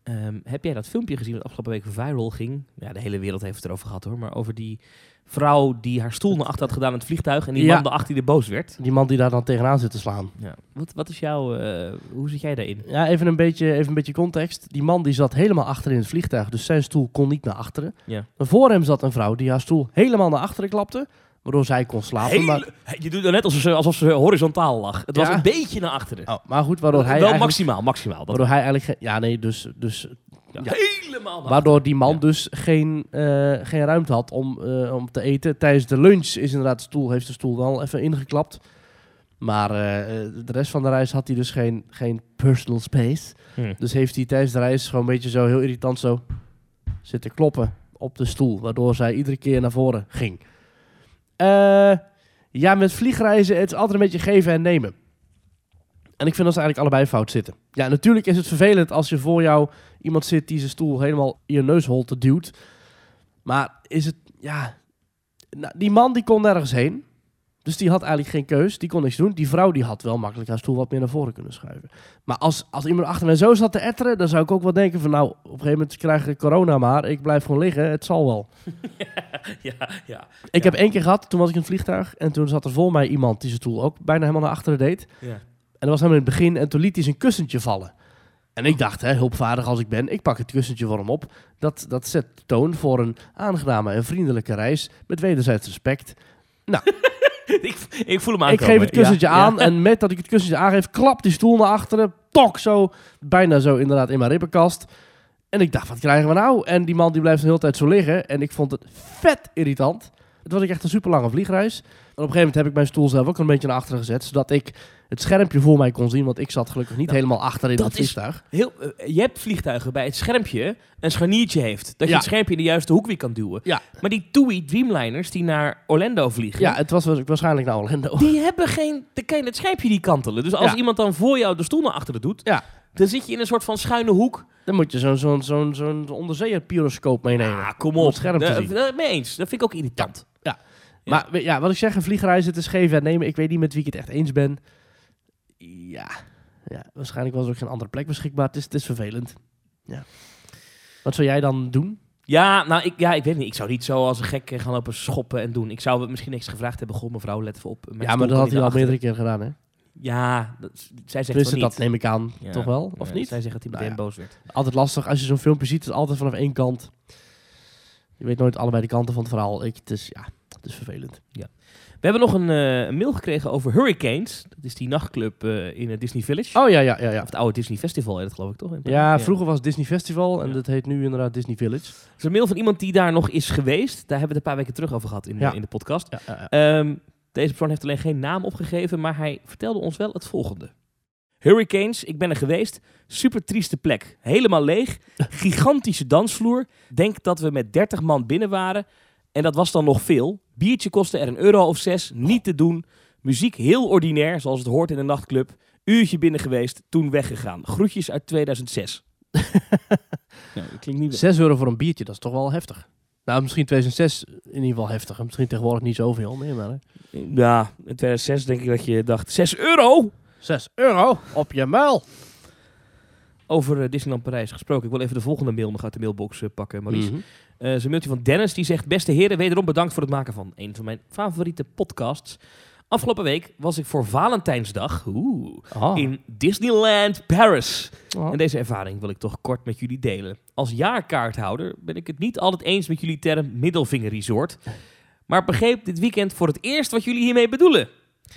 C: Ehm, heb jij dat filmpje gezien dat afgelopen week viral ging? Ja, de hele wereld heeft het erover gehad hoor. Maar over die vrouw die haar stoel naar achter had gedaan in het vliegtuig. En die
B: Ja.
C: man daarachter die boos werd.
B: Die man die daar dan tegenaan zit te slaan.
C: Ja. Wat, wat is jouw... eh, hoe zit jij daarin?
B: Ja, even een, beetje, even een beetje context. Die man die zat helemaal achter in het vliegtuig, dus zijn stoel kon niet naar achteren.
C: Ja.
B: Maar Voor hem zat een vrouw die haar stoel helemaal naar achteren klapte, waardoor zij kon slapen. Maar,
C: Hele- Je doet het net alsof ze, alsof ze horizontaal lag. Het was
B: Ja.
C: een beetje naar achteren.
B: Oh, maar goed, waardoor hij,
C: Wel
B: eigenlijk,
C: maximaal, maximaal. Dat,
B: waardoor hij eigenlijk... ge- Ja, nee, dus, dus ja.
C: Helemaal naar
B: Waardoor die man
C: Ja.
B: dus geen, eh, geen ruimte had om, eh, om te eten. Tijdens de lunch is inderdaad de stoel, heeft de stoel dan al even ingeklapt. Maar eh, eh, de rest van de reis had hij dus geen, geen personal space.
C: Hmm.
B: Dus heeft hij tijdens de reis gewoon een beetje zo heel irritant zo zitten kloppen op de stoel. Waardoor zij iedere keer naar voren ging. Eh, ja, met vliegreizen, het is altijd een beetje geven en nemen. En ik vind dat ze eigenlijk allebei fout zitten. Ja, natuurlijk is het vervelend als je voor jou iemand zit die zijn stoel helemaal in je neusholte duwt. Maar is het, ja... Nou, die man die kon nergens heen. Dus die had eigenlijk geen keus. Die kon niks doen. Die vrouw die had wel makkelijk haar stoel wat meer naar voren kunnen schuiven. Maar als, als iemand achter mij zo zat te etteren... dan zou ik ook wel denken van... nou, op een gegeven moment krijg ik corona maar. Ik blijf gewoon liggen. Het zal wel.
C: Ja, ja.
B: Ik
C: Ja.
B: heb één keer gehad, toen was ik in het vliegtuig... en toen zat er voor mij iemand die zijn stoel ook bijna helemaal naar achteren deed.
C: ja.
B: En dat was helemaal in het begin. En toen liet hij zijn kussentje vallen. En ik dacht, hè, hulpvaardig als ik ben, ik pak het kussentje voor hem op. Dat, dat zet de toon voor een aangename en vriendelijke reis met wederzijds respect.
C: Ik, ik voel hem aankomen.
B: ik geef het kussentje
C: Ja.
B: aan
C: Ja.
B: en met dat ik het kussentje aangeef, klapt die stoel naar achteren. Tok, zo, bijna zo inderdaad in mijn ribbenkast. En ik dacht, wat krijgen we nou? En die man die blijft de hele tijd zo liggen. En ik vond het vet irritant. Het was ook echt een super lange vliegreis. En op een gegeven moment heb ik mijn stoel zelf ook een beetje naar achteren gezet. Zodat ik het schermpje voor mij kon zien. Want ik zat gelukkig niet
C: Nou,
B: helemaal achter in
C: dat
B: dat
C: is-
B: vliegtuig.
C: Heel, eh, je hebt vliegtuigen bij het schermpje een scharniertje heeft. Dat je
B: Ja.
C: het schermpje in de juiste hoek weer kan duwen.
B: Ja.
C: Maar die TUI Dreamliners die naar Orlando vliegen...
B: Ja, het was wa- waarschijnlijk naar Orlando.
C: Die hebben geen... Dan kan je het schermpje niet kantelen. Dus als
B: Ja.
C: iemand dan voor jou de stoel naar achteren doet...
B: Ja.
C: dan zit je in een soort van schuine hoek.
B: Dan moet je zo'n zo'n zo'n zo'n onderzeeër pyroscoop meenemen.
C: Ah, kom
B: Om
C: op.
B: het scherm te
C: Eh,
B: zien.
C: eh, mee eens. Dat vind ik ook irritant. ja.
B: Maar we- ja, wat ik zeg, een vliegreis, het is geven en nemen. Ik weet niet met wie ik het echt eens ben. Ja, ja waarschijnlijk was er ook geen andere plek beschikbaar. Het is, het is vervelend. Ja. Wat zou jij dan doen?
C: Ja, nou, ik, ja, ik weet niet. Ik zou niet zo als een gek eh, gaan lopen schoppen en doen. Ik zou het misschien niks gevraagd hebben. Goh, mevrouw, let even op. Mijn
B: ja,
C: stoel
B: maar dat
C: kan
B: had
C: niet
B: hij al
C: naar
B: meerdere keer gedaan, hè?
C: achteren. Ja, dat, zij zegt
B: Tenminste,
C: van
B: dat
C: niet.
B: neem ik aan,
C: Ja.
B: toch wel? Of
C: Ja,
B: niet?
C: Zij zegt dat hij
B: Nou
C: meteen boos werd.
B: Altijd lastig. Als je zo'n filmpje ziet, is het altijd vanaf één kant. Je weet nooit allebei de kanten van het verhaal. Ik, het is, ja, het is vervelend.
C: We hebben nog een eh, een mail gekregen over Hurricanes. Dat is die nachtclub eh, in het Disney Village.
B: Oh ja, ja, ja, ja.
C: Of het oude Disney Festival, heet dat geloof ik toch? In
B: Ja,
C: Parijs?
B: vroeger was het Disney Festival en
C: Ja.
B: dat heet nu inderdaad Disney Village.
C: Er is een mail van iemand die daar nog is geweest. Daar hebben we het een paar weken terug over gehad in, de-
B: Ja.
C: in de podcast.
B: Ja, ja, ja.
C: Ehm, deze persoon heeft alleen geen naam opgegeven, maar hij vertelde ons wel het volgende. Hurricanes, ik ben er geweest. Super trieste plek. Helemaal leeg. Gigantische dansvloer. Denk dat we met 30 man binnen waren. En dat was dan nog veel. Biertje kostte er een euro of zes. Niet te doen. Muziek heel ordinair, zoals het hoort in een nachtclub. Uurtje binnen geweest, toen weggegaan. Groetjes uit 2006. nou, dat klinkt niet...
B: 6 euro voor een biertje, dat is toch wel heftig. Nou, misschien 2006 in ieder geval heftig. En Misschien tegenwoordig niet zoveel meer, maar... Hè.
C: Ja, in 2006 denk ik dat je dacht, 6 euro?
B: 6 euro op je muil.
C: Over eh, Disneyland Parijs gesproken. Ik wil even de volgende mail nog uit de mailbox eh, pakken, Maurice.
B: Mhm.
C: Eh, het is een mailtje van Dennis die zegt... Beste heren, wederom bedankt voor het maken van een van mijn favoriete podcasts. Afgelopen week was ik voor Valentijnsdag oeh,
B: Ah.
C: in Disneyland Paris.
B: Ah.
C: En deze ervaring wil ik toch kort met jullie delen. Als jaarkaarthouder ben ik het niet altijd eens met jullie term middelvingerresort. Maar begreep dit weekend voor het eerst wat jullie hiermee bedoelen.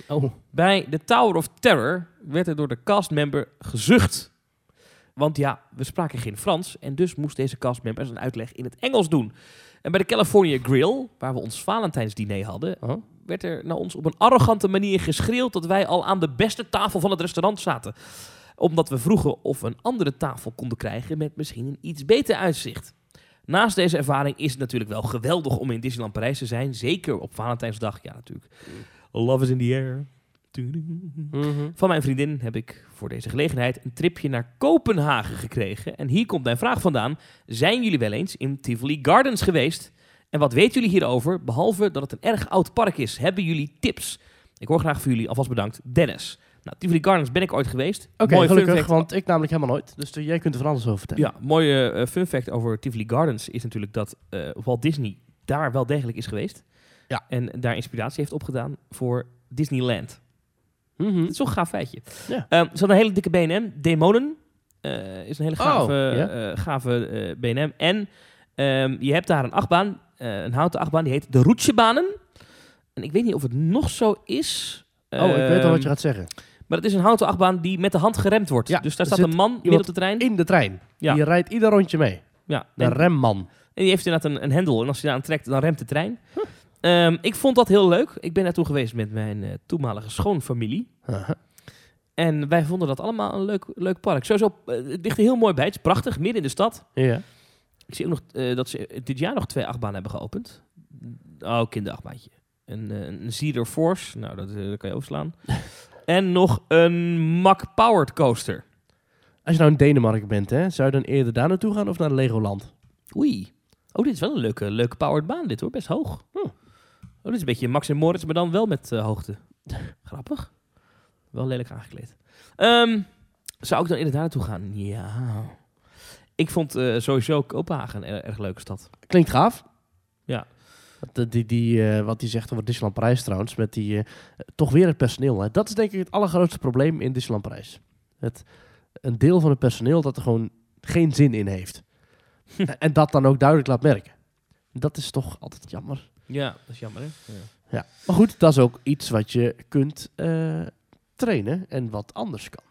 B: Oh.
C: Bij de Tower of Terror werd er door de castmember gezucht. Want ja, we spraken geen Frans en dus moest deze castmember zijn uitleg in het Engels doen. En bij de California Grill, waar we ons Valentijnsdiner hadden,
B: Oh.
C: werd er naar ons op een arrogante manier geschreeuwd dat wij al aan de beste tafel van het restaurant zaten. Omdat we vroegen of we een andere tafel konden krijgen met misschien een iets beter uitzicht. Naast deze ervaring is het natuurlijk wel geweldig om in Disneyland Parijs te zijn. Zeker op Valentijnsdag, ja natuurlijk. Love is in the air. Van mijn vriendin heb ik voor deze gelegenheid een tripje naar Kopenhagen gekregen. En hier komt mijn vraag vandaan. Zijn jullie wel eens in Tivoli Gardens geweest? En wat weten jullie hierover, behalve dat het een erg oud park is? Hebben jullie tips? Ik hoor graag van jullie. Alvast bedankt. Dennis. Nou, Tivoli Gardens ben ik ooit geweest.
B: Oké,
C: Mooi fun
B: gelukkig,
C: fact.
B: want ik namelijk helemaal nooit. Dus eh, jij kunt er van alles over vertellen.
C: Ja, mooie eh, fun fact over Tivoli Gardens is natuurlijk dat eh, Walt Disney daar wel degelijk is geweest.
B: Ja.
C: En daar inspiratie heeft opgedaan voor Disneyland.
B: Mhm.
C: Dat is toch een gaaf feitje.
B: Ja.
C: Ehm, ze had een hele dikke BNM. Demonen eh, is een hele gave,
B: Oh, ja.
C: eh, gave eh, BNM. En ehm, je hebt daar een achtbaan, eh, een houten achtbaan, die heet de Roetjebanen. En ik weet niet of het nog zo is.
B: Oh, ik weet al
C: Ehm,
B: wat je gaat zeggen.
C: Maar het is een houten achtbaan die met de hand geremd wordt.
B: Ja,
C: dus daar
B: er
C: staat een
B: zit
C: man midden op de trein.
B: In de trein.
C: Ja.
B: Die rijdt ieder rondje mee.
C: ja,
B: De
C: en-
B: remman.
C: en die heeft inderdaad een, een hendel. En als je daar aan trekt, dan remt de trein. Ehm, ik vond dat heel leuk. Ik ben daartoe geweest met mijn eh, toenmalige schoonfamilie.
B: Aha.
C: En wij vonden dat allemaal een leuk, leuk park. Sowieso, eh, het ligt er heel mooi bij. Het is prachtig, midden in de stad.
B: Ja.
C: Ik zie ook nog eh, dat ze dit jaar nog twee achtbanen hebben geopend. Oh, kinderachtbaantje. Een, eh, een Cedar Force, nou, dat, eh, dat kan je overslaan. en nog een Mack Powered Coaster.
B: Als je nou in Denemarken bent, hè, zou je dan eerder daar naartoe gaan of naar Legoland?
C: Oei. Oh, dit is wel een leuke, leuke powered baan, dit hoor. Best hoog.
B: Hm.
C: Oh, dit is een beetje Max en Moritz, maar dan wel met eh, hoogte. Grappig. Wel lelijk aangekleed. Ehm, zou ik dan inderdaad naartoe gaan? Ja. Ik vond eh, sowieso Kopenhagen een er- erg leuke stad.
B: Klinkt gaaf.
C: Ja.
B: Wat, eh, die, die, eh, wat die zegt over Disneyland Parijs trouwens, met die, eh, toch weer het personeel. Hè. Dat is denk ik het allergrootste probleem in Disneyland Parijs. Het, een deel van het personeel dat er gewoon geen zin in heeft. En- en dat dan ook duidelijk laat merken. Dat is toch altijd jammer.
C: Ja, dat is jammer hè?
B: Ja. Maar goed, dat is ook iets wat je kunt eh, trainen en wat anders kan.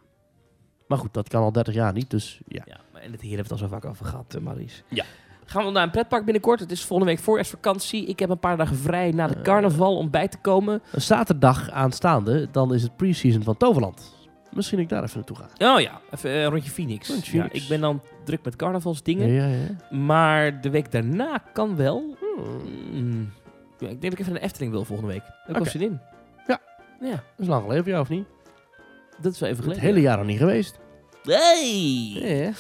B: Maar goed, dat kan al 30 jaar niet, dus ja.
C: Ja, maar- en het hier hebben we het al zo vaak over gehad, eh, Maries.
B: Ja.
C: Gaan we naar een pretpark binnenkort. Het is volgende week voorjaarsvakantie. Ik heb een paar dagen vrij na de carnaval om bij te komen.
B: Zaterdag aanstaande, dan is het pre-season van Toverland. Misschien ik daar even naartoe ga.
C: Oh ja, even eh, rondje Phoenix.
B: Rondje
C: Ja,
B: Phoenix.
C: ik ben dan druk met carnavalsdingen.
B: Ja, ja.
C: Maar de week daarna kan wel.
B: Hmm,
C: Mm. Ja, ik denk dat ik even een Efteling wil volgende week. Daar
B: Oké.
C: komt zin in.
B: Ja.
C: Ja,
B: Dat is lang geleden voor jou, of niet?
C: dat is wel even
B: Het
C: geleden.
B: hele jaar nog niet geweest.
C: Hey!
B: Ja.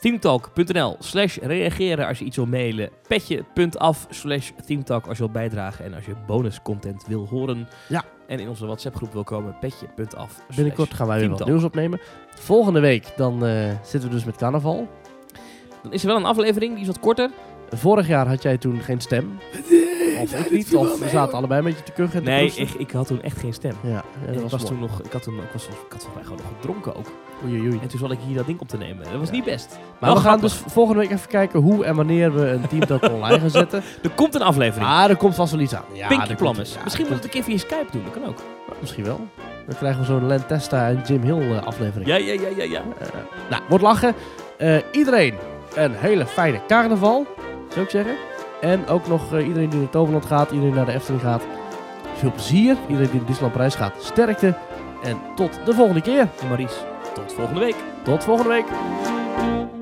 C: Themetalk.nl slash reageren als je iets wil mailen. Petje.af slash themetalk als je wilt bijdragen. En als je bonuscontent wil horen.
B: Ja.
C: En in onze WhatsApp groep wil komen. Petje.af slash
B: Binnenkort gaan wij weer wat
C: Teamtalk.
B: nieuws opnemen. Volgende week dan eh, zitten we dus met carnaval.
C: Dan is er wel een aflevering, die is wat korter.
B: Vorig jaar had jij toen geen stem. Of ik niet, of we zaten allebei een beetje te kuchen en te
C: Nee,
B: proesten.
C: ik, ik had toen echt geen stem.
B: Ja, ja,
C: En
B: dat
C: ik,
B: was
C: was
B: mooi.
C: toen nog, ik had toen, ik was, ik had volgens mij gewoon nog gedronken ook.
B: Oei, oei, oei.
C: En toen zat ik hier dat ding op te nemen. Dat was
B: Ja.
C: niet best.
B: Maar
C: Wel
B: we gaan dus
C: grappig.
B: volgende week even kijken hoe en wanneer we een team dat online gaan zetten.
C: Er komt een aflevering.
B: Maar er komt vast wel iets aan. Ah, Ja, er
C: Pinky
B: komt-
C: Plummers.
B: ja,
C: Misschien
B: er
C: moet ik het een keer via Skype doen. Dat kan ook.
B: komt- Misschien wel. Dan krijgen we zo'n Lentesta en Jim Hill eh, aflevering.
C: Ja, ja, ja, ja. ja.
B: Nou, wordt lachen. Eh, iedereen een hele fijne carnaval, zou ik zeggen. En ook nog eh, iedereen die naar Toverland gaat, iedereen naar de Efteling gaat. Veel plezier. Iedereen die naar Disneyland Prijs gaat, sterkte. En tot de volgende keer.
C: En Maries, tot volgende week.
B: Tot volgende week.